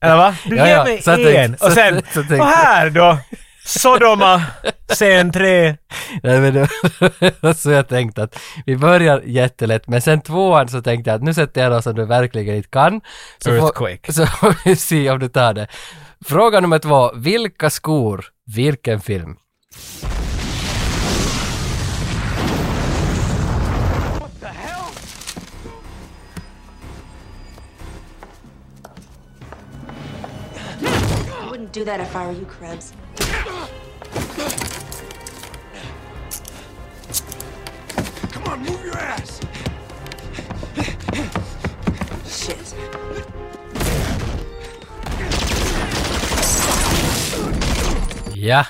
Speaker 1: Eller va? Du
Speaker 2: Ja,
Speaker 1: ger
Speaker 2: ja,
Speaker 1: mig
Speaker 2: så jag
Speaker 1: en!
Speaker 2: tänkte- så-
Speaker 1: och sen,
Speaker 2: så tänkte
Speaker 1: och här då! Sodoma, scen 3.
Speaker 2: Nej, men det var så jag tänkte att vi börjar jättelätt, men sen tvåan så tänkte jag att nu sätter jag något som du verkligen inte kan. Så
Speaker 1: Earthquake.
Speaker 2: Får, så får vi se om du tar det. Fråga nummer två, vilka skor, vilken film?
Speaker 5: I wouldn't do that if I were you, Krebs.
Speaker 6: Come on, move your ass.
Speaker 5: Shit.
Speaker 2: Ja! Ja.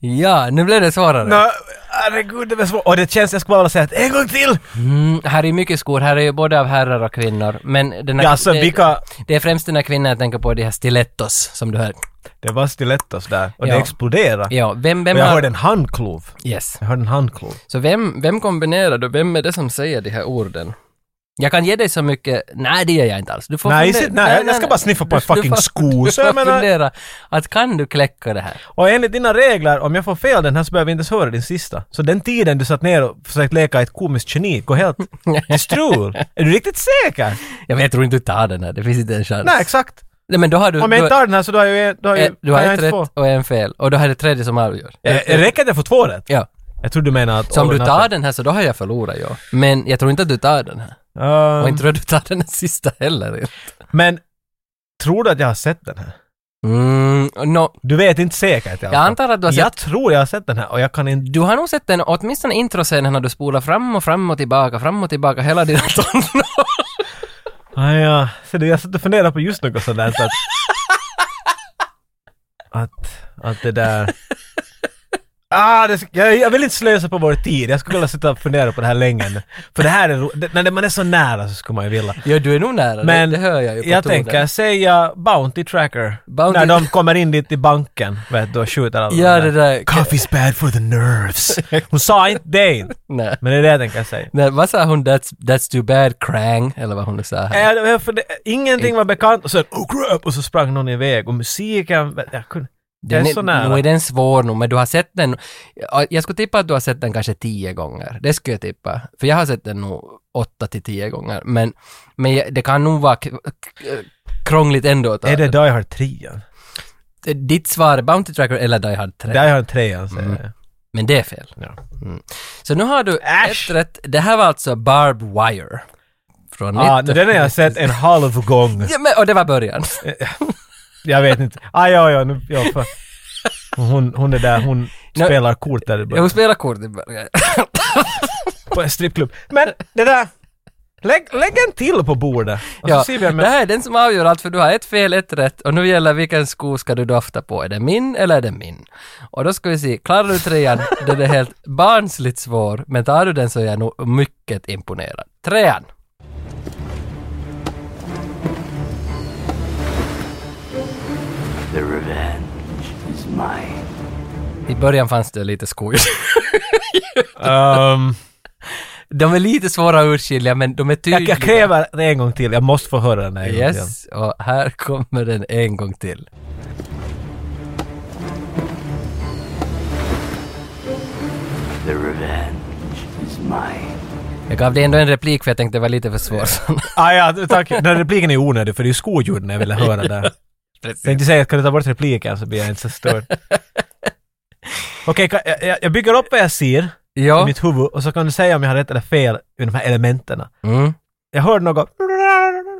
Speaker 2: Ja, nu blev det svårare.
Speaker 1: Nå, herregud, det var svårt. Och det känns, jag skulle bara vilja säga att en gång till!
Speaker 2: Mm, här är mycket skor, här är ju både av herrar och kvinnor. Men den här,
Speaker 1: Ja, alltså
Speaker 2: det,
Speaker 1: vilka...
Speaker 2: det är främst den här kvinnan jag tänker på, de här stilettos som du hör.
Speaker 1: Det var stilettos där och
Speaker 2: Ja.
Speaker 1: det exploderade.
Speaker 2: Ja, vem,
Speaker 1: Och
Speaker 2: vem
Speaker 1: jag
Speaker 2: har...
Speaker 1: hörde en handklov.
Speaker 2: Yes.
Speaker 1: Jag hörde en handklov.
Speaker 2: Så vem, vem kombinerar då? Vem är det som säger de här orden? Jag kan ge dig så mycket... Nej, det gör jag inte alls. Du får
Speaker 1: Nej,
Speaker 2: fundera-
Speaker 1: shit, nej, jag ska bara sniffa på
Speaker 2: Du-
Speaker 1: en
Speaker 2: du
Speaker 1: fucking
Speaker 2: får-
Speaker 1: sko,
Speaker 2: Du
Speaker 1: så jag
Speaker 2: får
Speaker 1: menar-
Speaker 2: fundera att kan du kläcka det här?
Speaker 1: Och enligt dina regler, om jag får fel den här så behöver vi inte ens höra din sista. Så den tiden du satt ner och försökt leka ett komiskt geni går helt till strul. Är du riktigt säker?
Speaker 2: Jag, vet, jag tror inte du tar den här, det finns inte en chans.
Speaker 1: Nej, exakt.
Speaker 2: Nej, men då har du...
Speaker 1: Om jag
Speaker 2: du,
Speaker 1: inte tar den här så då har jag ju... Då har
Speaker 2: eh,
Speaker 1: jag,
Speaker 2: du har
Speaker 1: kan jag
Speaker 2: ett
Speaker 1: inte
Speaker 2: rätt
Speaker 1: få.
Speaker 2: och en fel. Och då har det tredje som avgör.
Speaker 1: Eh, Räcker det för två rätt?
Speaker 2: Ja.
Speaker 1: Jag tror du menar att...
Speaker 2: Så om
Speaker 1: all
Speaker 2: du
Speaker 1: or
Speaker 2: tar
Speaker 1: nothing.
Speaker 2: den här så då har jag förlorat, ja. Men jag tror inte att du tar den här.
Speaker 1: Ehm,
Speaker 2: Och inte tror jag du tar den här sista heller.
Speaker 1: Men tror du att jag har sett den här?
Speaker 2: Mm, no,
Speaker 1: Du vet inte säkert i alla
Speaker 2: jag
Speaker 1: fall.
Speaker 2: antar att du har
Speaker 1: Jag
Speaker 2: sett...
Speaker 1: tror jag har sett den här och jag kan inte...
Speaker 2: Du har nog sett den, åtminstone introscenen har du spolat fram och fram och tillbaka, fram och tillbaka hela dina tonår.
Speaker 1: Ah, ja. Så det, jag satt och funderade på just något sådär så att... att, att det där... Ah, det, sk- jag, jag vill inte slösa på vår tid. Jag skulle vilja sitta och fundera på det här länge. nu. För det här är ro- det, När man är så nära så skulle man ju vilja.
Speaker 2: Ja, du är nog nära,
Speaker 1: Men
Speaker 2: det, det hör jag ju på
Speaker 1: jag
Speaker 2: tonen.
Speaker 1: tänker säga Bounty Tracker.
Speaker 2: Bounty-
Speaker 1: När de kommer in dit i banken, vet du, och skjuter alla
Speaker 2: Ja,
Speaker 1: de
Speaker 2: det där...
Speaker 1: Coffee's bad for the nerves. Hon sa inte det inte.
Speaker 2: Nej.
Speaker 1: Men det är det jag tänker säga.
Speaker 2: Nej, vad sa hon? That's, that's too bad, krang, eller vad hon nu sa här.
Speaker 1: Äh, det var för det, ingenting var bekant och sen oh crap och så sprang någon iväg och musiken, jag kunde, jag är
Speaker 2: Den
Speaker 1: så nära.
Speaker 2: Nu är den svår nog, men du har sett den... ja, Jag skulle tippa att du har sett den kanske tio gånger. Det skulle jag tippa. För jag har sett den nog åtta till tio gånger. Men, men jag- det kan nog vara k- k- krångligt ändå att ta
Speaker 1: Är det
Speaker 2: den.
Speaker 1: Die Hard 3?
Speaker 2: Ditt svar är Bounty Tracker eller Die Hard 3.
Speaker 1: Die Hard 3
Speaker 2: Mm.
Speaker 1: säger jag.
Speaker 2: Men det är fel.
Speaker 1: Ja.
Speaker 2: Mm. Så nu har du
Speaker 1: Äsch!
Speaker 2: ett rätt. Det här var alltså Barb Wire. Från
Speaker 1: Ah, nu,
Speaker 2: 19
Speaker 1: den har jag sett en halv gång.
Speaker 2: Ja, men, och det var början.
Speaker 1: Jag vet inte. Ah, ja, ja, nu, ja, för, hon, hon är där, hon
Speaker 2: Nå,
Speaker 1: spelar kort där i början.
Speaker 2: Jag spelar kort i början.
Speaker 1: På en strippklubb. Men det där, lägg, lägg en till på bordet. Och så
Speaker 2: Ja,
Speaker 1: ser vi om
Speaker 2: det
Speaker 1: jag,
Speaker 2: här är den som avgör allt för du har ett fel, ett rätt och nu gäller vilken sko ska du dofta på. Är det min eller är det min? Och då ska vi se, klarar du trean, den är helt barnsligt svår, men tar du den så är jag nog mycket imponerad. Trean!
Speaker 7: The revenge is mine.
Speaker 2: I början fanns det lite skor.
Speaker 1: Ehm,
Speaker 2: De är lite svåra att urskilja, men de är
Speaker 1: jag,
Speaker 2: tydliga.
Speaker 1: jag kräver det en gång till, jag måste få höra den här en gång till.
Speaker 2: Yes, och här kommer den en gång till.
Speaker 7: The revenge is mine.
Speaker 2: Jag gav dig ändå en replik för jag tänkte det var lite för svårt.
Speaker 1: Ah, ja, tack. Den här repliken är onödig för det är ju skoljuden jag ville höra där. Jag tänkte säga att kan du ta bort repliken så blir jag inte så störd. Okej, kan- jag- jag, jag bygger upp vad jag ser i
Speaker 2: ja.
Speaker 1: mitt huvud och så kan du säga om jag har rätt eller fel i de här elementen.
Speaker 2: Mm.
Speaker 1: Jag hörde något...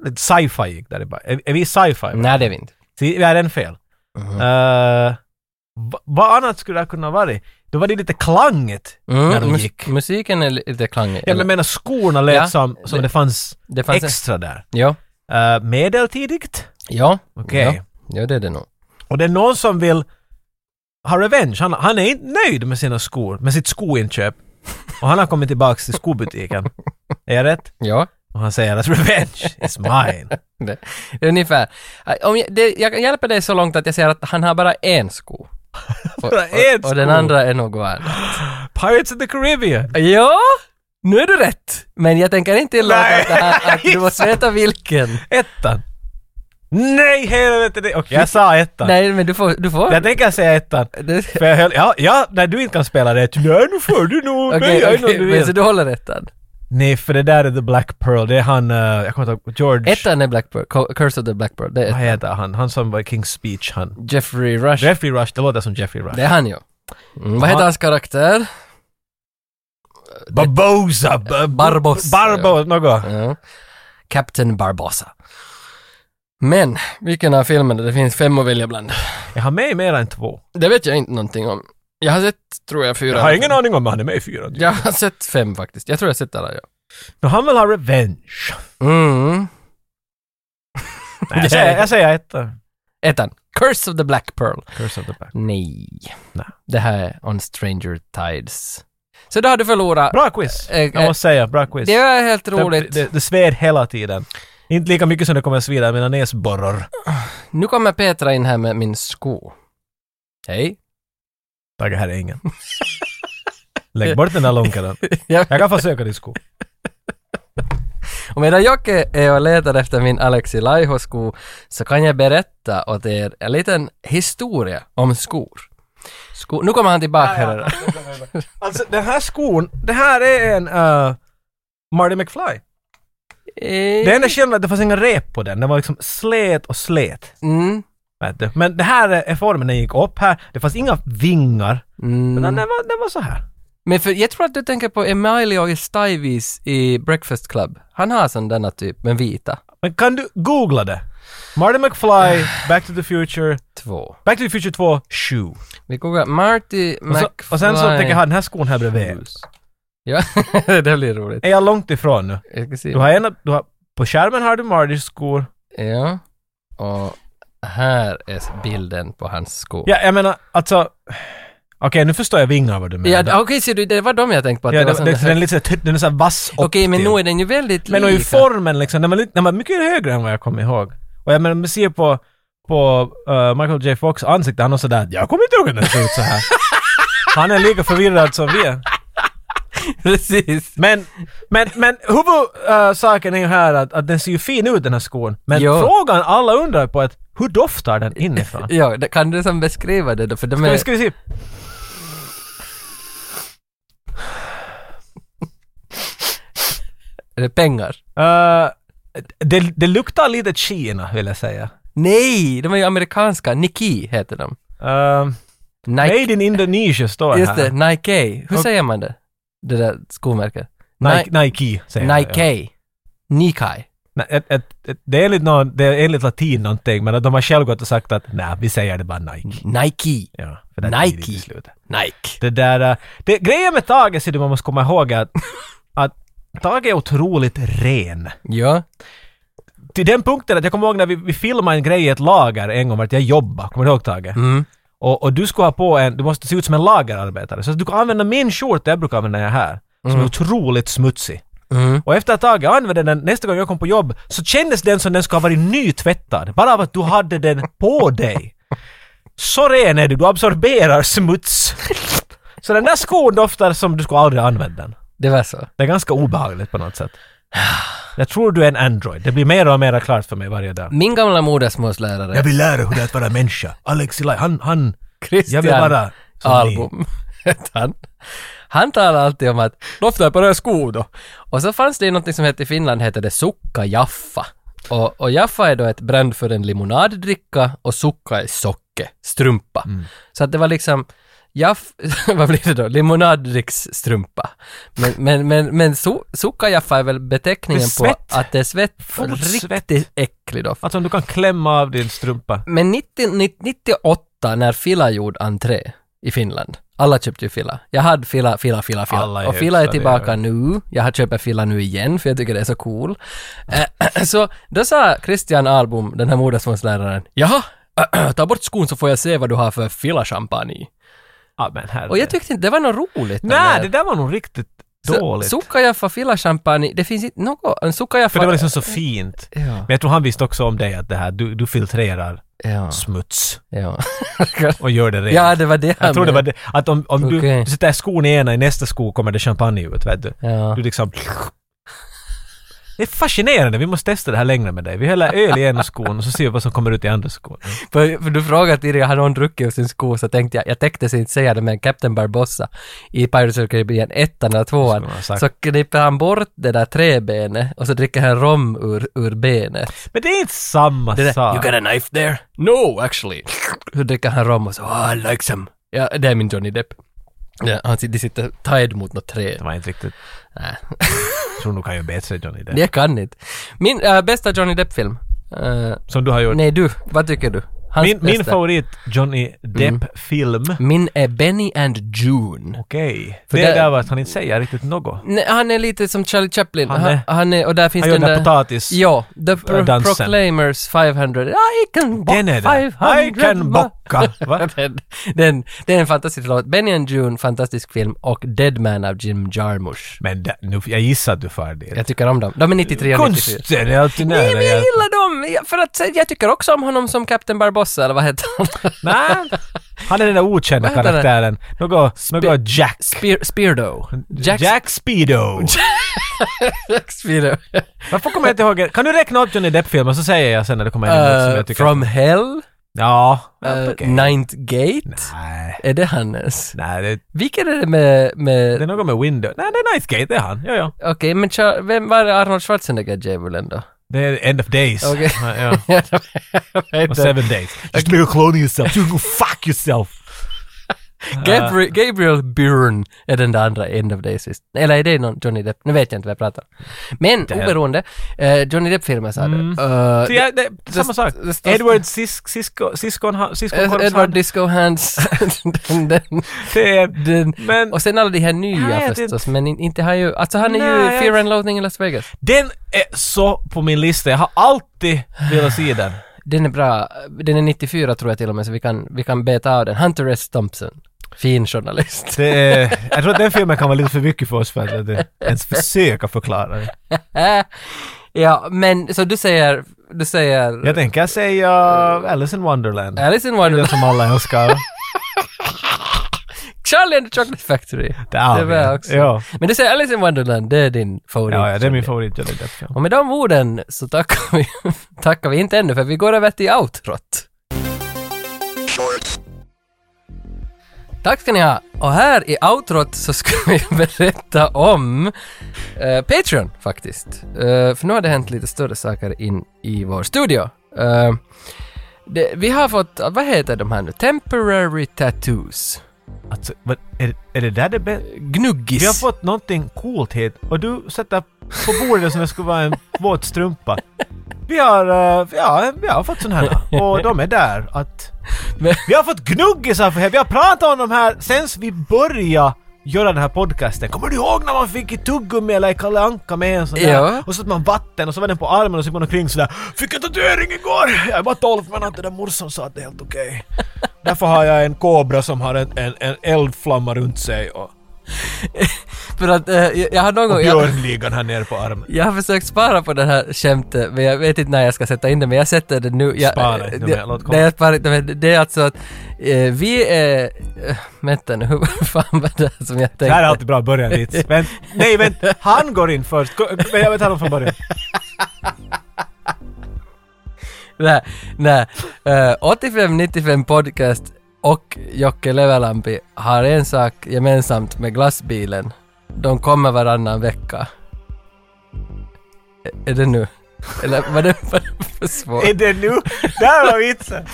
Speaker 1: Lite sci-fi gick där i bara. Är, är vi sci-fi?
Speaker 2: Nej, Mm. det är vi inte.
Speaker 1: Så vi är en fel. Eh, va- vad annat skulle det ha kunnat vara? Då var det lite klanget när de
Speaker 2: mus-
Speaker 1: gick.
Speaker 2: musiken är lite klangig.
Speaker 1: Mm, Ja, men jag
Speaker 2: eller-
Speaker 1: menar skorna lät
Speaker 2: mm. Ja,
Speaker 1: som, som det,
Speaker 2: det-
Speaker 1: fanns,
Speaker 2: det fanns en-
Speaker 1: extra där.
Speaker 2: Ja.
Speaker 1: Eh, medeltidigt?
Speaker 2: Ja.
Speaker 1: Okej.
Speaker 2: Ja. ja, det är det nog.
Speaker 1: Och det är någon som vill ha revenge. Han, han är inte nöjd med sina skor, med sitt skoinköp. Och han har kommit tillbaks till skobutiken. Är jag rätt?
Speaker 2: Ja.
Speaker 1: Och han säger att revenge is mine.
Speaker 2: Det, ungefär. Om jag, det, jag hjälper dig så långt att jag säger att han har bara en sko. Och,
Speaker 1: Bara en
Speaker 2: och, och den
Speaker 1: sko?
Speaker 2: andra är något annat.
Speaker 1: Pirates of the Caribbean!
Speaker 2: Ja, nu är du rätt. Men jag tänker inte tillåta
Speaker 1: Nej.
Speaker 2: att, det här- att du måste veta vilken.
Speaker 1: Ettan! Nej, helvete! det- Okej, jag sa ettan.
Speaker 2: Nej, men du får... Du får.
Speaker 1: Jag tänker säga ettan.
Speaker 2: Det-
Speaker 1: För jag höll, ja, ja, när du inte kan spela rätt. Nej, nu får du nog.
Speaker 2: Okej,
Speaker 1: nej, jag är nog
Speaker 2: okej,
Speaker 1: du
Speaker 2: men så
Speaker 1: vill.
Speaker 2: du håller ettan?
Speaker 1: Nej, för det där är The Black Pearl. Det är han, eh, jag kommer inte ihåg, George...
Speaker 2: Ettan är Blackbird, Co- Curse of the Blackbird. Det är
Speaker 1: Vad
Speaker 2: ettan.
Speaker 1: heter han? Han som var i King's Speech, han.
Speaker 2: Jeffrey Rush.
Speaker 1: Jeffrey Rush, det låter som Jeffrey Rush.
Speaker 2: det är han ju. Mm, vad heter
Speaker 1: Han-
Speaker 2: hans karaktär?
Speaker 1: Barbosa! Ba-
Speaker 2: Barbossa,
Speaker 1: Barbo, något.
Speaker 2: Ja. Captain Barbossa. Men, vilken av filmerna? Det finns fem att välja bland.
Speaker 1: Jag har med i mer än två.
Speaker 2: Det vet jag inte någonting om. Jag har sett, tror jag, fyra.
Speaker 1: Jag har ingen aning om han är med i fyra.
Speaker 2: Jag har sett fem faktiskt. Jag tror jag har sett alla, ja.
Speaker 1: Men han vill ha revenge.
Speaker 2: Mm.
Speaker 1: Nej, jag, säger, jag säger ett. eh,
Speaker 2: Ettan. Curse of the Black Pearl.
Speaker 1: Curse of the Black.
Speaker 2: Nej.
Speaker 1: Nej.
Speaker 2: Det här är On Stranger Tides. Så då har du förlorat.
Speaker 1: Bra quiz!
Speaker 2: Eh, eh,
Speaker 1: Jag måste säga, bra quiz.
Speaker 2: Det var helt roligt.
Speaker 1: Det, det, det sved hela tiden. Inte lika mycket som det kommer att svida i mina näsborrar.
Speaker 2: Nu kommer Petra in här med min sko. Hej.
Speaker 1: Tack, här är ingen. Lägg bort den där långkaren. Jag kan försöka disco.
Speaker 2: Och medan Jocke är och letar efter min Alexi Laiho-sko så kan jag berätta åt er en liten historia om skor. Sko- nu kommer han tillbaka här.
Speaker 1: Alltså den här skon, det här är en eh, Marty McFly. Det
Speaker 2: Eh,
Speaker 1: enda skillnaden är att det fanns inga rep på den. Den var liksom slät och slät.
Speaker 2: Mm.
Speaker 1: Vet du? Men det här är är formen den gick upp här. Det fanns inga vingar.
Speaker 2: Mm.
Speaker 1: Men den, den, var, den var så här.
Speaker 2: Men för, jag tror att du tänker på Emilio Estivis i Breakfast Club. Han har sån denna typ, men vita.
Speaker 1: Men kan du googla det? Marty McFly, Back to the Future,
Speaker 2: Två.
Speaker 1: Back to the Future 2, shoe.
Speaker 2: Vi googlar Marty
Speaker 1: Och, så,
Speaker 2: McFly.
Speaker 1: och sen så tänker jag ha den här skon här bredvid.
Speaker 2: Ja, det blir roligt.
Speaker 1: Är jag långt ifrån nu?
Speaker 2: Jag ska se.
Speaker 1: Du har ena, du har, på skärmen har du Martys skor.
Speaker 2: Ja. Och här är bilden på hans skor.
Speaker 1: Ja, jag menar alltså... Okej, nu förstår jag vingar vad du menar.
Speaker 2: Ja, d- okej, ser du, det var de jag tänkte på. Att
Speaker 1: Ja,
Speaker 2: det var
Speaker 1: det,
Speaker 2: sån
Speaker 1: det,
Speaker 2: där-
Speaker 1: den är lite så här tutt- den är så här vass upp
Speaker 2: Okej, men
Speaker 1: till.
Speaker 2: nu är den ju väldigt
Speaker 1: Men och
Speaker 2: lika.
Speaker 1: i formen liksom, den var, lite, den var mycket högre än vad jag kommer ihåg. Och jag menar, man ser på, på eh, Michael J. Fox ansikte, han har sådär, jag kommer inte ihåg hur den ser ut så här. Han är lika förvirrad som vi är.
Speaker 2: Precis.
Speaker 1: Men, men, men huvudsaken är ju här att, att den ser ju fin ut den här skon. Men
Speaker 2: Jo.
Speaker 1: frågan alla undrar på är att hur doftar den inifrån?
Speaker 2: Ja, det- kan du som beskriva det då? För de
Speaker 1: Men
Speaker 2: är...
Speaker 1: ska vi se.
Speaker 2: är det pengar?
Speaker 1: Eh, det, det luktar lite Kina vill jag säga.
Speaker 2: Nej, de är ju amerikanska. Nike heter de.
Speaker 1: Eh,
Speaker 2: Nike.
Speaker 1: made in Indonesia står
Speaker 2: Just
Speaker 1: här.
Speaker 2: det, Nike. Hur
Speaker 1: Och-
Speaker 2: säger man det? Det där skomärket.
Speaker 1: Nike, Nike säger jag,
Speaker 2: Nike.
Speaker 1: ja.
Speaker 2: Nikai.
Speaker 1: Nej, ett, ett, ett, det, är enligt någon, det är enligt latin någonting men att de har själv gått och sagt att nej, vi säger det bara Nike.
Speaker 2: Nike.
Speaker 1: Ja, för det är tidigt
Speaker 2: Mm. Nike.
Speaker 1: i slutet.
Speaker 2: Nike.
Speaker 1: Det där, eh, det, grejen med Tage ser du man måste komma ihåg är att, att Tage är otroligt ren.
Speaker 2: Ja.
Speaker 1: Till den punkten att jag kommer ihåg när vi, vi filmade en grej i ett lager en gång vart jag jobbade, kommer du ihåg Tage?
Speaker 2: Mm.
Speaker 1: Och, och du ska ha på en, du måste se ut som en lagerarbetare. Så att du kan använda min skjorta jag brukar använda här, som är otroligt smutsig.
Speaker 2: Mm.
Speaker 1: Och efter ett tag jag använde den, nästa gång jag kom på jobb, så kändes den som den ska ha varit nytvättad. Bara av att du hade den på dig. Så ren är du, du absorberar smuts. Så den där skon doftar som du skulle aldrig använda den.
Speaker 2: Det var så.
Speaker 1: Det är ganska obehagligt på något sätt. Jag tror du är en Android. Det blir mer och mer klart för mig varje dag.
Speaker 2: Min gamla modersmålslärare.
Speaker 1: Jag vill lära hur det är att vara människa. Alex Eli, han, han...
Speaker 2: Christian
Speaker 1: Jag vill vara som ni.
Speaker 2: Album. hette han. Han talar alltid om att doftar på röd sko då. Och så fanns det något som hette i Finland hette det sukka jaffa. Och, och jaffa är då ett bränd för en limonaddricka och sukka är socke, strumpa.
Speaker 1: Mm.
Speaker 2: Så att det var liksom Jaff, vad blir det då? Limonaddricksstrumpa. Men, men, men, men su, sukkajaffa är väl beteckningen
Speaker 1: Det är
Speaker 2: på
Speaker 1: svett.
Speaker 2: att det är svett,
Speaker 1: Fotsvett.
Speaker 2: riktigt äcklig doft.
Speaker 1: Alltså om du kan klämma av din strumpa.
Speaker 2: Men 90, 98 när Fila gjorde entré i Finland, alla köpte ju Fila. Jag hade Fila, Fila, Fila, Fila.
Speaker 1: Alla i
Speaker 2: och Fila är
Speaker 1: högsta
Speaker 2: tillbaka
Speaker 1: del.
Speaker 2: nu. Jag har köpt Fila nu igen för jag tycker det är så cool. Eh, så då sa Christian Albom, den här modersmålsläraren, jaha, ta bort skon så får jag se vad du har för Fila-champagne i."
Speaker 1: Ja men herre.
Speaker 2: Och jag tyckte inte det var något roligt.
Speaker 1: Nej, det där var nog riktigt dåligt.
Speaker 2: Sukkajaffa Fila-champagne, det finns inte något,
Speaker 1: För
Speaker 2: en sukkajaffa...
Speaker 1: det var liksom så fint.
Speaker 2: Ja,
Speaker 1: Men jag tror han visste också om dig att det här, du, du filtrerar
Speaker 2: ja,
Speaker 1: smuts
Speaker 2: ja.
Speaker 1: och gör det rent.
Speaker 2: ja, det var det
Speaker 1: jag tror det var
Speaker 2: menade.
Speaker 1: det, att om, om du,
Speaker 2: Okej.
Speaker 1: du sätter skon i ena, i nästa sko kommer det champagne ut, vet du.
Speaker 2: Ja.
Speaker 1: Du liksom... Det är fascinerande, vi måste testa det här längre med dig. Vi häller öl i ena skon och så ser vi vad som kommer ut i andra skon.
Speaker 2: För, för du frågade tidigare, har någon druckit ur sin sko? Så tänkte jag, jag tänkte inte säga det, men Captain Barbossa i Pirates of the Caribbean, ettan eller tvåan,
Speaker 1: Skulle man ha sagt.
Speaker 2: så klipper han bort det där träbenet och så dricker han rom ur, ur benet.
Speaker 1: Men det är inte samma
Speaker 2: Det där,
Speaker 1: sak.
Speaker 2: you got a knife there? No, actually. Så dricker han rom och så, oh, I like some. Ja, det är min Johnny Depp. Ja, han sitter, de sitter tied mot något träd.
Speaker 1: Det var inte riktigt...
Speaker 2: Nej.
Speaker 1: Jag tror nog han gör bättre Johnny det.
Speaker 2: Det kan inte. Min äh, bästa Johnny Depp-film. Äh,
Speaker 1: Som du har gjort.
Speaker 2: nej, du. Vad tycker du? Hans
Speaker 1: Min, min
Speaker 2: bästa. Mm.
Speaker 1: favorit Johnny Depp-film.
Speaker 2: Min är Benny and June.
Speaker 1: Okej.
Speaker 2: För
Speaker 1: Det
Speaker 2: där-
Speaker 1: är där var att han inte säger riktigt något.
Speaker 2: Nej, han är lite som Charlie Chaplin.
Speaker 1: Han
Speaker 2: Han är,
Speaker 1: är-
Speaker 2: han är och där finns
Speaker 1: han gör
Speaker 2: den
Speaker 1: den där
Speaker 2: där...
Speaker 1: potatis.
Speaker 2: Ja, The Pro-
Speaker 1: dansen.
Speaker 2: Proclaimers 500. I can bocka
Speaker 1: Den är det.
Speaker 2: 500.
Speaker 1: I can bocka. Va?
Speaker 2: den, den, det är en fantastisk låt. Benny and June, fantastisk film. Och Dead Man av Jim Jarmusch.
Speaker 1: Men det, nu, jag gissar att du far dit.
Speaker 2: Jag tycker om dem. De är 93 och 94.
Speaker 1: Konsten är alltid nära
Speaker 2: Nej, men jag
Speaker 1: hjärtat.
Speaker 2: gillar dem! Jag- För att eh, jag tycker också om honom som Captain Barbossa, eller vad heter han?
Speaker 1: Nej, han är den där okända
Speaker 2: Vad heter den?
Speaker 1: karaktären. Något, något Jack.
Speaker 2: Spear, Speardo. Jack,
Speaker 1: Jack Speedo.
Speaker 2: Jack Speardo.
Speaker 1: Varför kommer jag inte ihåg? Kan du räkna upp Johnny Depp-filmer så säger jag sen när det kommer en uh, som
Speaker 2: Eh,
Speaker 1: jag tycker...
Speaker 2: from Hell.
Speaker 1: Ja.
Speaker 2: eh,
Speaker 1: okej.
Speaker 2: Ninth Gate.
Speaker 1: Nej.
Speaker 2: Är det hans?
Speaker 1: Nej, det,
Speaker 2: Vilken är det med... med
Speaker 1: det är något med Windows. Nej, det är Nightgate, det är han. Ja, ja.
Speaker 2: Okej, men Char- vem var det Arnold Schwarzenegger djävulen då?
Speaker 1: Det är End of Days.
Speaker 2: Okej.
Speaker 1: Ja, ja.
Speaker 2: Vad
Speaker 1: Och
Speaker 2: heter-
Speaker 1: Seven Days. Just be a clone yourself. You go fuck yourself.
Speaker 2: Gabriel, Gabriel Byrne är den där andra End of Days visst. Eller är det någon Johnny Depp? Nu vet jag inte vad jag pratar om. Men oberoende, eh, Johnny Depp-filmer sa
Speaker 1: Mm.
Speaker 2: du. Eh,
Speaker 1: Så ja, det, samma sak.
Speaker 2: det står-
Speaker 1: Edward Sis- Sisko... Siskon...
Speaker 2: Ed-
Speaker 1: Siskon
Speaker 2: Edward Disco Hands. den, den,
Speaker 1: Det är...
Speaker 2: den.
Speaker 1: Men
Speaker 2: Och sen alla de här nya
Speaker 1: Nej, det-
Speaker 2: förstås, men in, inte han ju... Alltså han är ju
Speaker 1: Nej,
Speaker 2: i
Speaker 1: jag-
Speaker 2: Fear and Loathing i Las Vegas.
Speaker 1: den är så på min lista. Jag har alltid velat se den.
Speaker 2: Den är bra. Den är 94 tror jag till och med, så vi kan, vi kan beta av den. Hunter S. Thompson. Fin journalist.
Speaker 1: Det är, jag tror att den filmen kan vara lite för mycket för oss för att det- ens försöka förklara det.
Speaker 2: Äh, ja, men så du säger... Du säger...
Speaker 1: Jag tänker säga Alice in Wonderland.
Speaker 2: Alice in
Speaker 1: Den
Speaker 2: Wonderland.
Speaker 1: som alla älskar.
Speaker 2: Charlie and the Chocolate Factory.
Speaker 1: Det är
Speaker 2: var jag
Speaker 1: vi.
Speaker 2: också.
Speaker 1: Ja.
Speaker 2: Men du säger Alice in Wonderland, det är din favorit.
Speaker 1: Ja, ja, det är min favorit Johnny Depp-film.
Speaker 2: Och med de orden så tackar vi, tackar vi inte ännu för vi går över till outrot. Tack ska ni ha! Och här i outrot så ska vi berätta om eh, Patreon faktiskt. Eh, för nu har det hänt lite större saker in i vår studio. Eh, det, vi har fått, ah, vad heter de här nu? Temporary tattoos.
Speaker 1: Alltså, vad, är, är det där det bästa?
Speaker 2: Gnuggis.
Speaker 1: Vi har fått någonting coolt hit och du sätter på bordet som det skulle vara en våt strumpa. Vi har, eh, ja, vi har fått sådana här och de är där att...
Speaker 2: Men-
Speaker 1: Vi har fått gnuggisar för här. Vi har pratat om de här sen vi började göra den här podcasten. Kommer du ihåg när man fick i tuggummi eller i Kalle Anka med en sån där?
Speaker 2: Ja.
Speaker 1: Och så satte man vatten och så var den på armen och så gick man omkring sådär. Fick en tatuering igår! Jag var 12 men att den där morsan sa att det är helt okej. Därför har jag en kobra som har en, en, en eldflamma runt sig och
Speaker 2: För att eh, jag, jag har någon gång... jag-
Speaker 1: björnligan här nere på armen.
Speaker 2: Jag har försökt spara på den här skämtet, men jag vet inte när jag ska sätta in det, men jag sätter det nu. Jag, eh,
Speaker 1: Spara inte,
Speaker 2: det,
Speaker 1: men låt komma.
Speaker 2: nej, jag sparar inte, men det är alltså att eh, vi är... Eh, vänta nu, hur fan var det här som jag
Speaker 1: Det här är
Speaker 2: tänkte?
Speaker 1: alltid bra början dit. Vänt, nej vänt, han går in först. Gå- Men jag vet honom från början.
Speaker 2: Nej, nej. Eh, 85-95 podcast och Jocke Levelampi har en sak gemensamt med glassbilen. De kommer varannan vecka. Eh, Är- Är det nu? Eller var det, var det för svårt?
Speaker 1: Är det nu? Där var vitsen!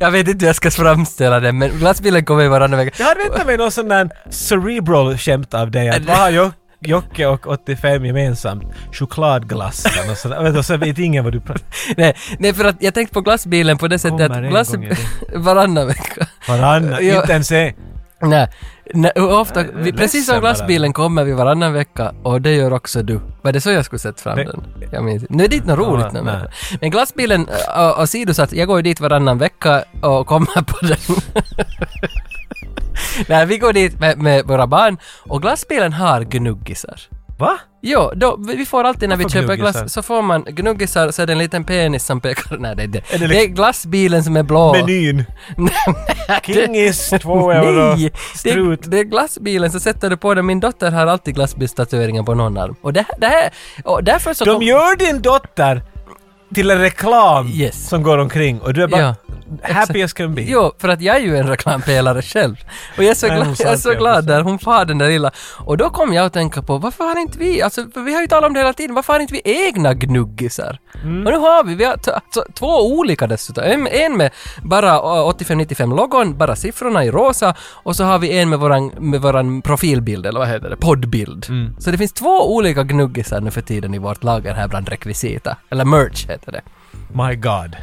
Speaker 2: Jag vet inte hur jag ska framställa det, men glassbilen kommer varannan vecka.
Speaker 1: Jag hade väntat mig någon sån där cerebral skämt av dig.
Speaker 2: Äh,
Speaker 1: Att vad har Joc- Jocke och 85 gemensamt? Chokladglass eller något sånt. där. Vet du, Så vet ingen vad du pratar
Speaker 2: Nej, nej, för att jag tänkte på glassbilen på det sättet
Speaker 1: Kommer
Speaker 2: att
Speaker 1: en
Speaker 2: glass...
Speaker 1: gång i
Speaker 2: varannan vecka.
Speaker 1: Varannan,
Speaker 2: Ja.
Speaker 1: inte ens det.
Speaker 2: Nej, nej hur ofta...
Speaker 1: är
Speaker 2: Vi, precis som
Speaker 1: ledsen
Speaker 2: glassbilen kommer vi varannan vecka och det gör också du. Var det så jag skulle sett fram
Speaker 1: Det-
Speaker 2: den? Jag minns Nu är det inte något roligt nu.
Speaker 1: nej.
Speaker 2: men- Men glassbilen äh, och, och sidosatt, jag går ju dit varannan vecka och kommer på den. nej, vi går dit med, med våra barn och glassbilen har gnuggisar.
Speaker 1: Va?
Speaker 2: Jo, då, vi vi får alltid när vi
Speaker 1: Varför
Speaker 2: köper
Speaker 1: gnuggisar?
Speaker 2: glass så får man gnuggisar så är det en liten penis som pekar... Nej, det är det.
Speaker 1: Är det
Speaker 2: Det är
Speaker 1: liksom-
Speaker 2: glassbilen som är blå.
Speaker 1: Menyn. Kingis, två euro.
Speaker 2: Nej! Det
Speaker 1: Strut.
Speaker 2: är, det är glassbilen så sätter du på den. Min dotter har alltid glassbilstatueringen på någon arm. Och det, här- det här... Och därför så...
Speaker 1: De
Speaker 2: kom-
Speaker 1: gör din dotter till en reklam
Speaker 2: Yes.
Speaker 1: som går omkring och du är bara
Speaker 2: Ja.
Speaker 1: happy as can be.
Speaker 2: Jo, för att jag är ju en reklampelare själv. Och jag är så
Speaker 1: Nej,
Speaker 2: glad,
Speaker 1: hon sa
Speaker 2: jag är så
Speaker 1: inte
Speaker 2: glad
Speaker 1: jag
Speaker 2: där, hon far den där lilla. Och då kom jag att tänka på, varför har inte vi, alltså för vi har ju talat om det hela tiden, varför har inte vi egna gnuggisar? Och nu har vi, vi har t- t- två olika dessutom. En, en med bara 85-95-logon, bara siffrorna i rosa, och så har vi en med våran, med våran profilbild, eller vad heter det, poddbild. Så det finns två olika gnuggisar nu för tiden i vårt lager här bland rekvisita, eller merch heter det.
Speaker 1: My God.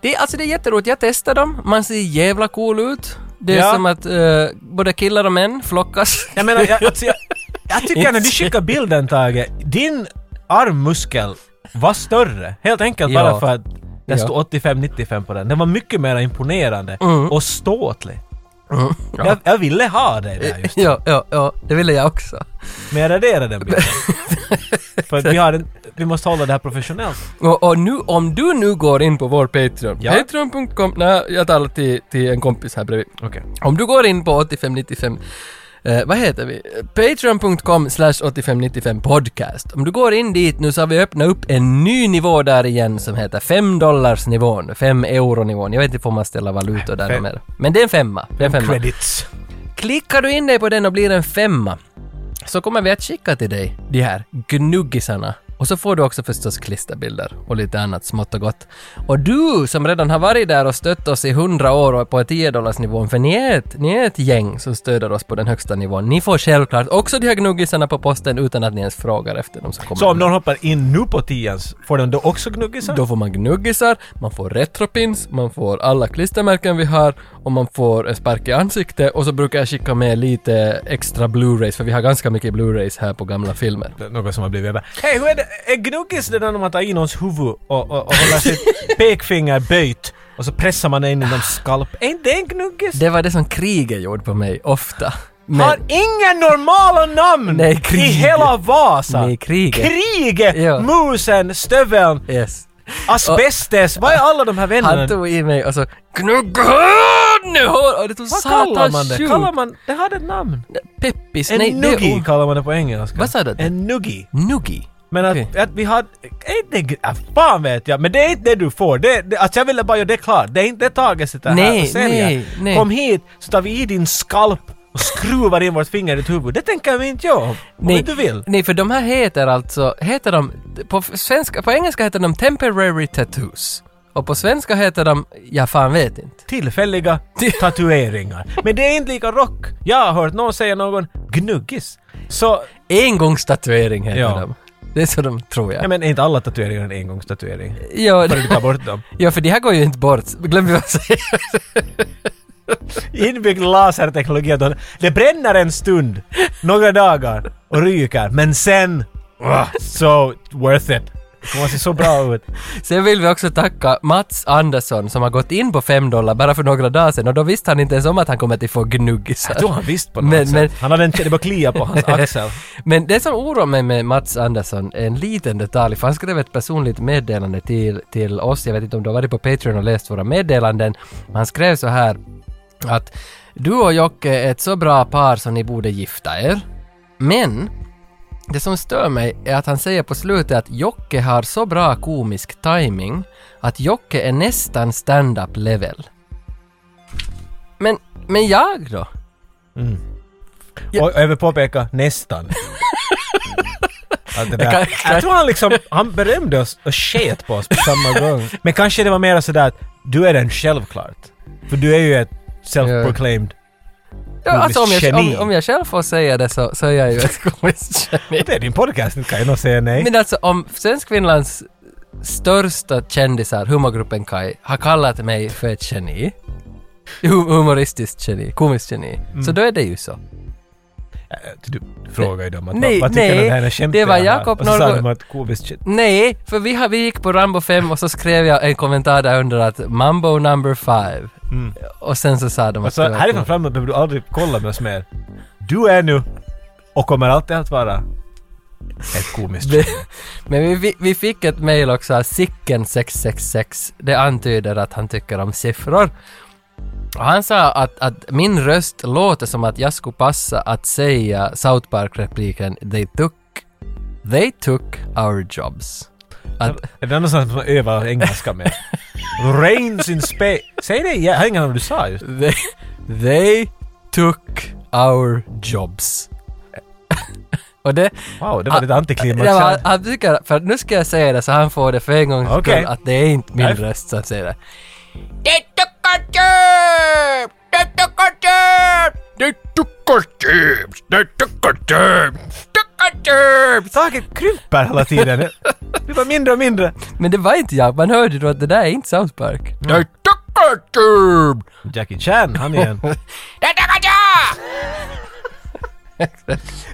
Speaker 2: Det är, alltså det är jätteroligt, jag testar dem, man ser jävla cool ut. Det är
Speaker 1: Ja.
Speaker 2: som att eh, både killar och män flockas.
Speaker 1: Jag menar, jag, alltså, jag, jag tycker när du skickar bilden Tage, din armmuskel var större. Helt enkelt bara
Speaker 2: Ja.
Speaker 1: för att det
Speaker 2: Ja.
Speaker 1: stod 85-95 på den. Den var mycket mer imponerande och ståtlig. Jag, jag ville ha dig där just.
Speaker 2: ja, ja, ja, det ville jag också.
Speaker 1: Men jag raderade den bilden. för att vi, har en, vi måste hålla det här professionellt.
Speaker 2: Och, och nu, om du nu går in på vår Patreon,
Speaker 1: Ja.
Speaker 2: patreon.com, nej, jag talar till, till en kompis här bredvid.
Speaker 1: Okej.
Speaker 2: Om du går in på 8595, eh, vad heter vi? Patreon.com slash 8595 podcast. Om du går in dit nu så har vi öppnat upp en ny nivå där igen som heter 5 dollars nivån, 5 euro nivån. Jag vet inte om man ställer valutor där
Speaker 1: Fem.
Speaker 2: mer. Men det är en femma. Det är en femma.
Speaker 1: Credits.
Speaker 2: Klickar du in dig på den och blir en femma så kommer vi att skicka till dig de här gnuggisarna. Och så får du också förstås klisterbilder och lite annat smått och gott. Och du som redan har varit där och stött oss i 100 år och är på 10 nivån för ni är, ett, ni är ett gäng som stöder oss på den högsta nivån. Ni får självklart också de här gnuggisarna på posten utan att ni ens frågar efter dem. Så, kommer
Speaker 1: Så om
Speaker 2: de.
Speaker 1: någon hoppar in nu på tians, får den då också gnuggisar?
Speaker 2: Då får man gnuggisar, man får retropins, man får alla klistermärken vi har och man får en spark i ansikte och så brukar jag skicka med lite extra blu-rays för vi har ganska mycket blu-rays här på gamla filmer.
Speaker 1: Något som har blivit över. Hej, hur är det? Är gnuggis det där när man tar i någons huvud och, och, och håller sitt pekfinger böjt och så pressar man det in i någons skalp? Är inte det en gnuggis?
Speaker 2: Ah. Det var det som kriget gjorde på mig, ofta.
Speaker 1: Har
Speaker 2: Men,
Speaker 1: inga normala namn
Speaker 2: Nej, Krige.
Speaker 1: i hela Vasa!
Speaker 2: Nej, Krige.
Speaker 1: Krige!
Speaker 2: Ja.
Speaker 1: Musen, stöveln,
Speaker 2: yes.
Speaker 1: asbestes. Vad är alla de här
Speaker 2: Han
Speaker 1: vännerna?
Speaker 2: tog i mig och så gnuggan! Och det tog
Speaker 1: Vad kallar man
Speaker 2: satans
Speaker 1: det?
Speaker 2: sjukt.
Speaker 1: Kallar man... Det hade ett namn.
Speaker 2: Peppis?
Speaker 1: En
Speaker 2: Nej, det är...
Speaker 1: nuggi
Speaker 2: o-
Speaker 1: kallar man det på engelska.
Speaker 2: Vad sa du?
Speaker 1: En nuggi.
Speaker 2: Nuggi?
Speaker 1: Men att,
Speaker 2: Okej.
Speaker 1: att vi har... Är det, gr- ah, fan vet jag, men det är inte det du får. Det, det, alltså jag ville bara göra det klart. Det är inte Tage sitter här
Speaker 2: Nej,
Speaker 1: och säljer.
Speaker 2: nej, nej.
Speaker 1: Kom hit så tar vi i din skalp och skruvar in vårt finger i ditt huvud. Det tänker vi inte göra om om
Speaker 2: Nej,
Speaker 1: inte du vill.
Speaker 2: Nej, för de här heter alltså, heter de, på, svenska, på engelska heter de temporary tattoos. Och på svenska heter de, jag fan vet inte.
Speaker 1: Tillfälliga tatueringar. Men det är inte lika rock. Jag har hört någon säga någon gnuggis. Så,
Speaker 2: Engångstatuering heter
Speaker 1: Ja.
Speaker 2: de. Det är så de tror jag.
Speaker 1: jag menar inte alla tatueringar är en engångstatuering.
Speaker 2: Ja,
Speaker 1: Bara du tar bort dem.
Speaker 2: ja, för de här går ju inte bort. Glöm vad jag säger.
Speaker 1: Inbyggd laserteknologi. att de- Det bränner en stund, några dagar och ryker. Men sen... ah, so worth it. Det kommer att se så bra ut.
Speaker 2: Sen vill vi också tacka Mats Andersson som har gått in på 5 dollar bara för några dagar sedan och då visste han inte ens om att han kommer att få gnuggisar.
Speaker 1: Jag tror han visst på något
Speaker 2: Men-
Speaker 1: sätt.
Speaker 2: men-
Speaker 1: han hade en, det bara klia på hans axel.
Speaker 2: Men det som oroar mig med Mats Andersson är en liten detalj, för han skrev ett personligt meddelande till, till oss, jag vet inte om du har varit på Patreon och läst våra meddelanden, men han skrev så här att du och Jocke är ett så bra par så ni borde gifta er, men det som stör mig är att han säger på slutet att Jocke har så bra komisk timing att Jocke är nästan stand-up level. Men, men jag då? Ja.
Speaker 1: Och jag vill påpeka, nästan. Att det där,
Speaker 2: kan-
Speaker 1: jag, tror han liksom, han berömde oss och sket på oss på samma gång. Men kanske det var mer sådär att du är den självklart. För du är ju ett self-proclaimed
Speaker 2: Ja, alltså om jag,
Speaker 1: Komiskt geni.
Speaker 2: om, om jag själv får säga det så, så är jag ju ett komiskt geni.
Speaker 1: Det är din podcast, inte kan jag nog säga nej.
Speaker 2: Men alltså om Svenskfinlands största kändisar, humorgruppen Kai, har kallat mig för ett geni, hu- humoristiskt geni, komiskt geni, så då är det ju så.
Speaker 1: Äh, Du frågar ju dem att
Speaker 2: Nej,
Speaker 1: vad, vad tycker
Speaker 2: nej,
Speaker 1: de här skämtiga
Speaker 2: det var
Speaker 1: här?
Speaker 2: Jakob
Speaker 1: Och så sa
Speaker 2: Norrgård.
Speaker 1: de att komiskt shit.
Speaker 2: Nej, för vi, har, vi gick på Rambo 5 och så skrev jag en kommentar där under att Mambo number 5. Och sen så sa de att...
Speaker 1: Alltså
Speaker 2: det var
Speaker 1: härifrån
Speaker 2: komiskt.
Speaker 1: framåt behöver du aldrig kolla med oss mer. Du är nu och kommer alltid att vara ett komiskt shit.
Speaker 2: Men vi, vi, vi fick ett mejl också, Sicken666. Det antyder att han tycker om siffror. Och han sa att, att min röst låter som att jag skulle passa att säga South Park-repliken “They took, they took our jobs”. Att,
Speaker 1: Är det någonstans som man övar engelska med? Rains in space. Säg det igen, jag har ingen aning om vad du sa just.
Speaker 2: they, they took our jobs. Och det,
Speaker 1: Wow, det
Speaker 2: Ah,
Speaker 1: var lite antiklimax.
Speaker 2: Ja, men han, han tycker, för nu ska jag säga det så han får det för en gångs
Speaker 1: Okej.
Speaker 2: skull att det är inte min
Speaker 1: Nej.
Speaker 2: röst som säger det. Det tog our jobs! Det tog our jobs! Det tog our jobs! Det tog our jobs! Took Undirbed!
Speaker 1: Taket krymper hela tiden. Det blir bara mindre och mindre.
Speaker 2: Men det var inte jag, man hörde då att det där är inte South Park. Det är Undirbed!
Speaker 1: Jackie Chan, han igen.
Speaker 2: Det är Undirbed!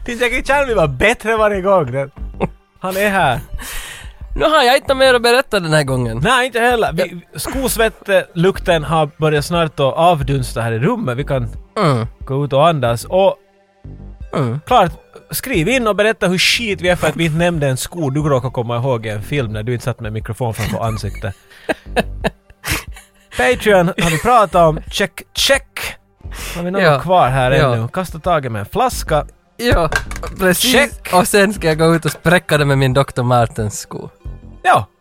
Speaker 1: Din Jackie Chan blir bara bättre varje gång. Den- Han är här.
Speaker 2: Nu har jag inte mer att berätta den här gången.
Speaker 1: Nej, inte heller. Vi, skosvettlukten har börjat snart att avdunsta här i rummet. Vi kan
Speaker 2: Mm.
Speaker 1: gå ut och andas. Och
Speaker 2: Mm.
Speaker 1: klart, skriv in och berätta hur shit vi är för att vi inte nämnde en sko du råkar komma ihåg i en film när du inte satt med mikrofon framför ansiktet. Patreon har vi pratat om. Check, check! Har vi någon
Speaker 2: Ja.
Speaker 1: kvar här
Speaker 2: Ja.
Speaker 1: ännu? Kasta taget med en flaska.
Speaker 2: Ja, precis.
Speaker 1: Check.
Speaker 2: Och sen ska jag gå ut och spräcka det med min Dr. Martens sko.
Speaker 1: Ja,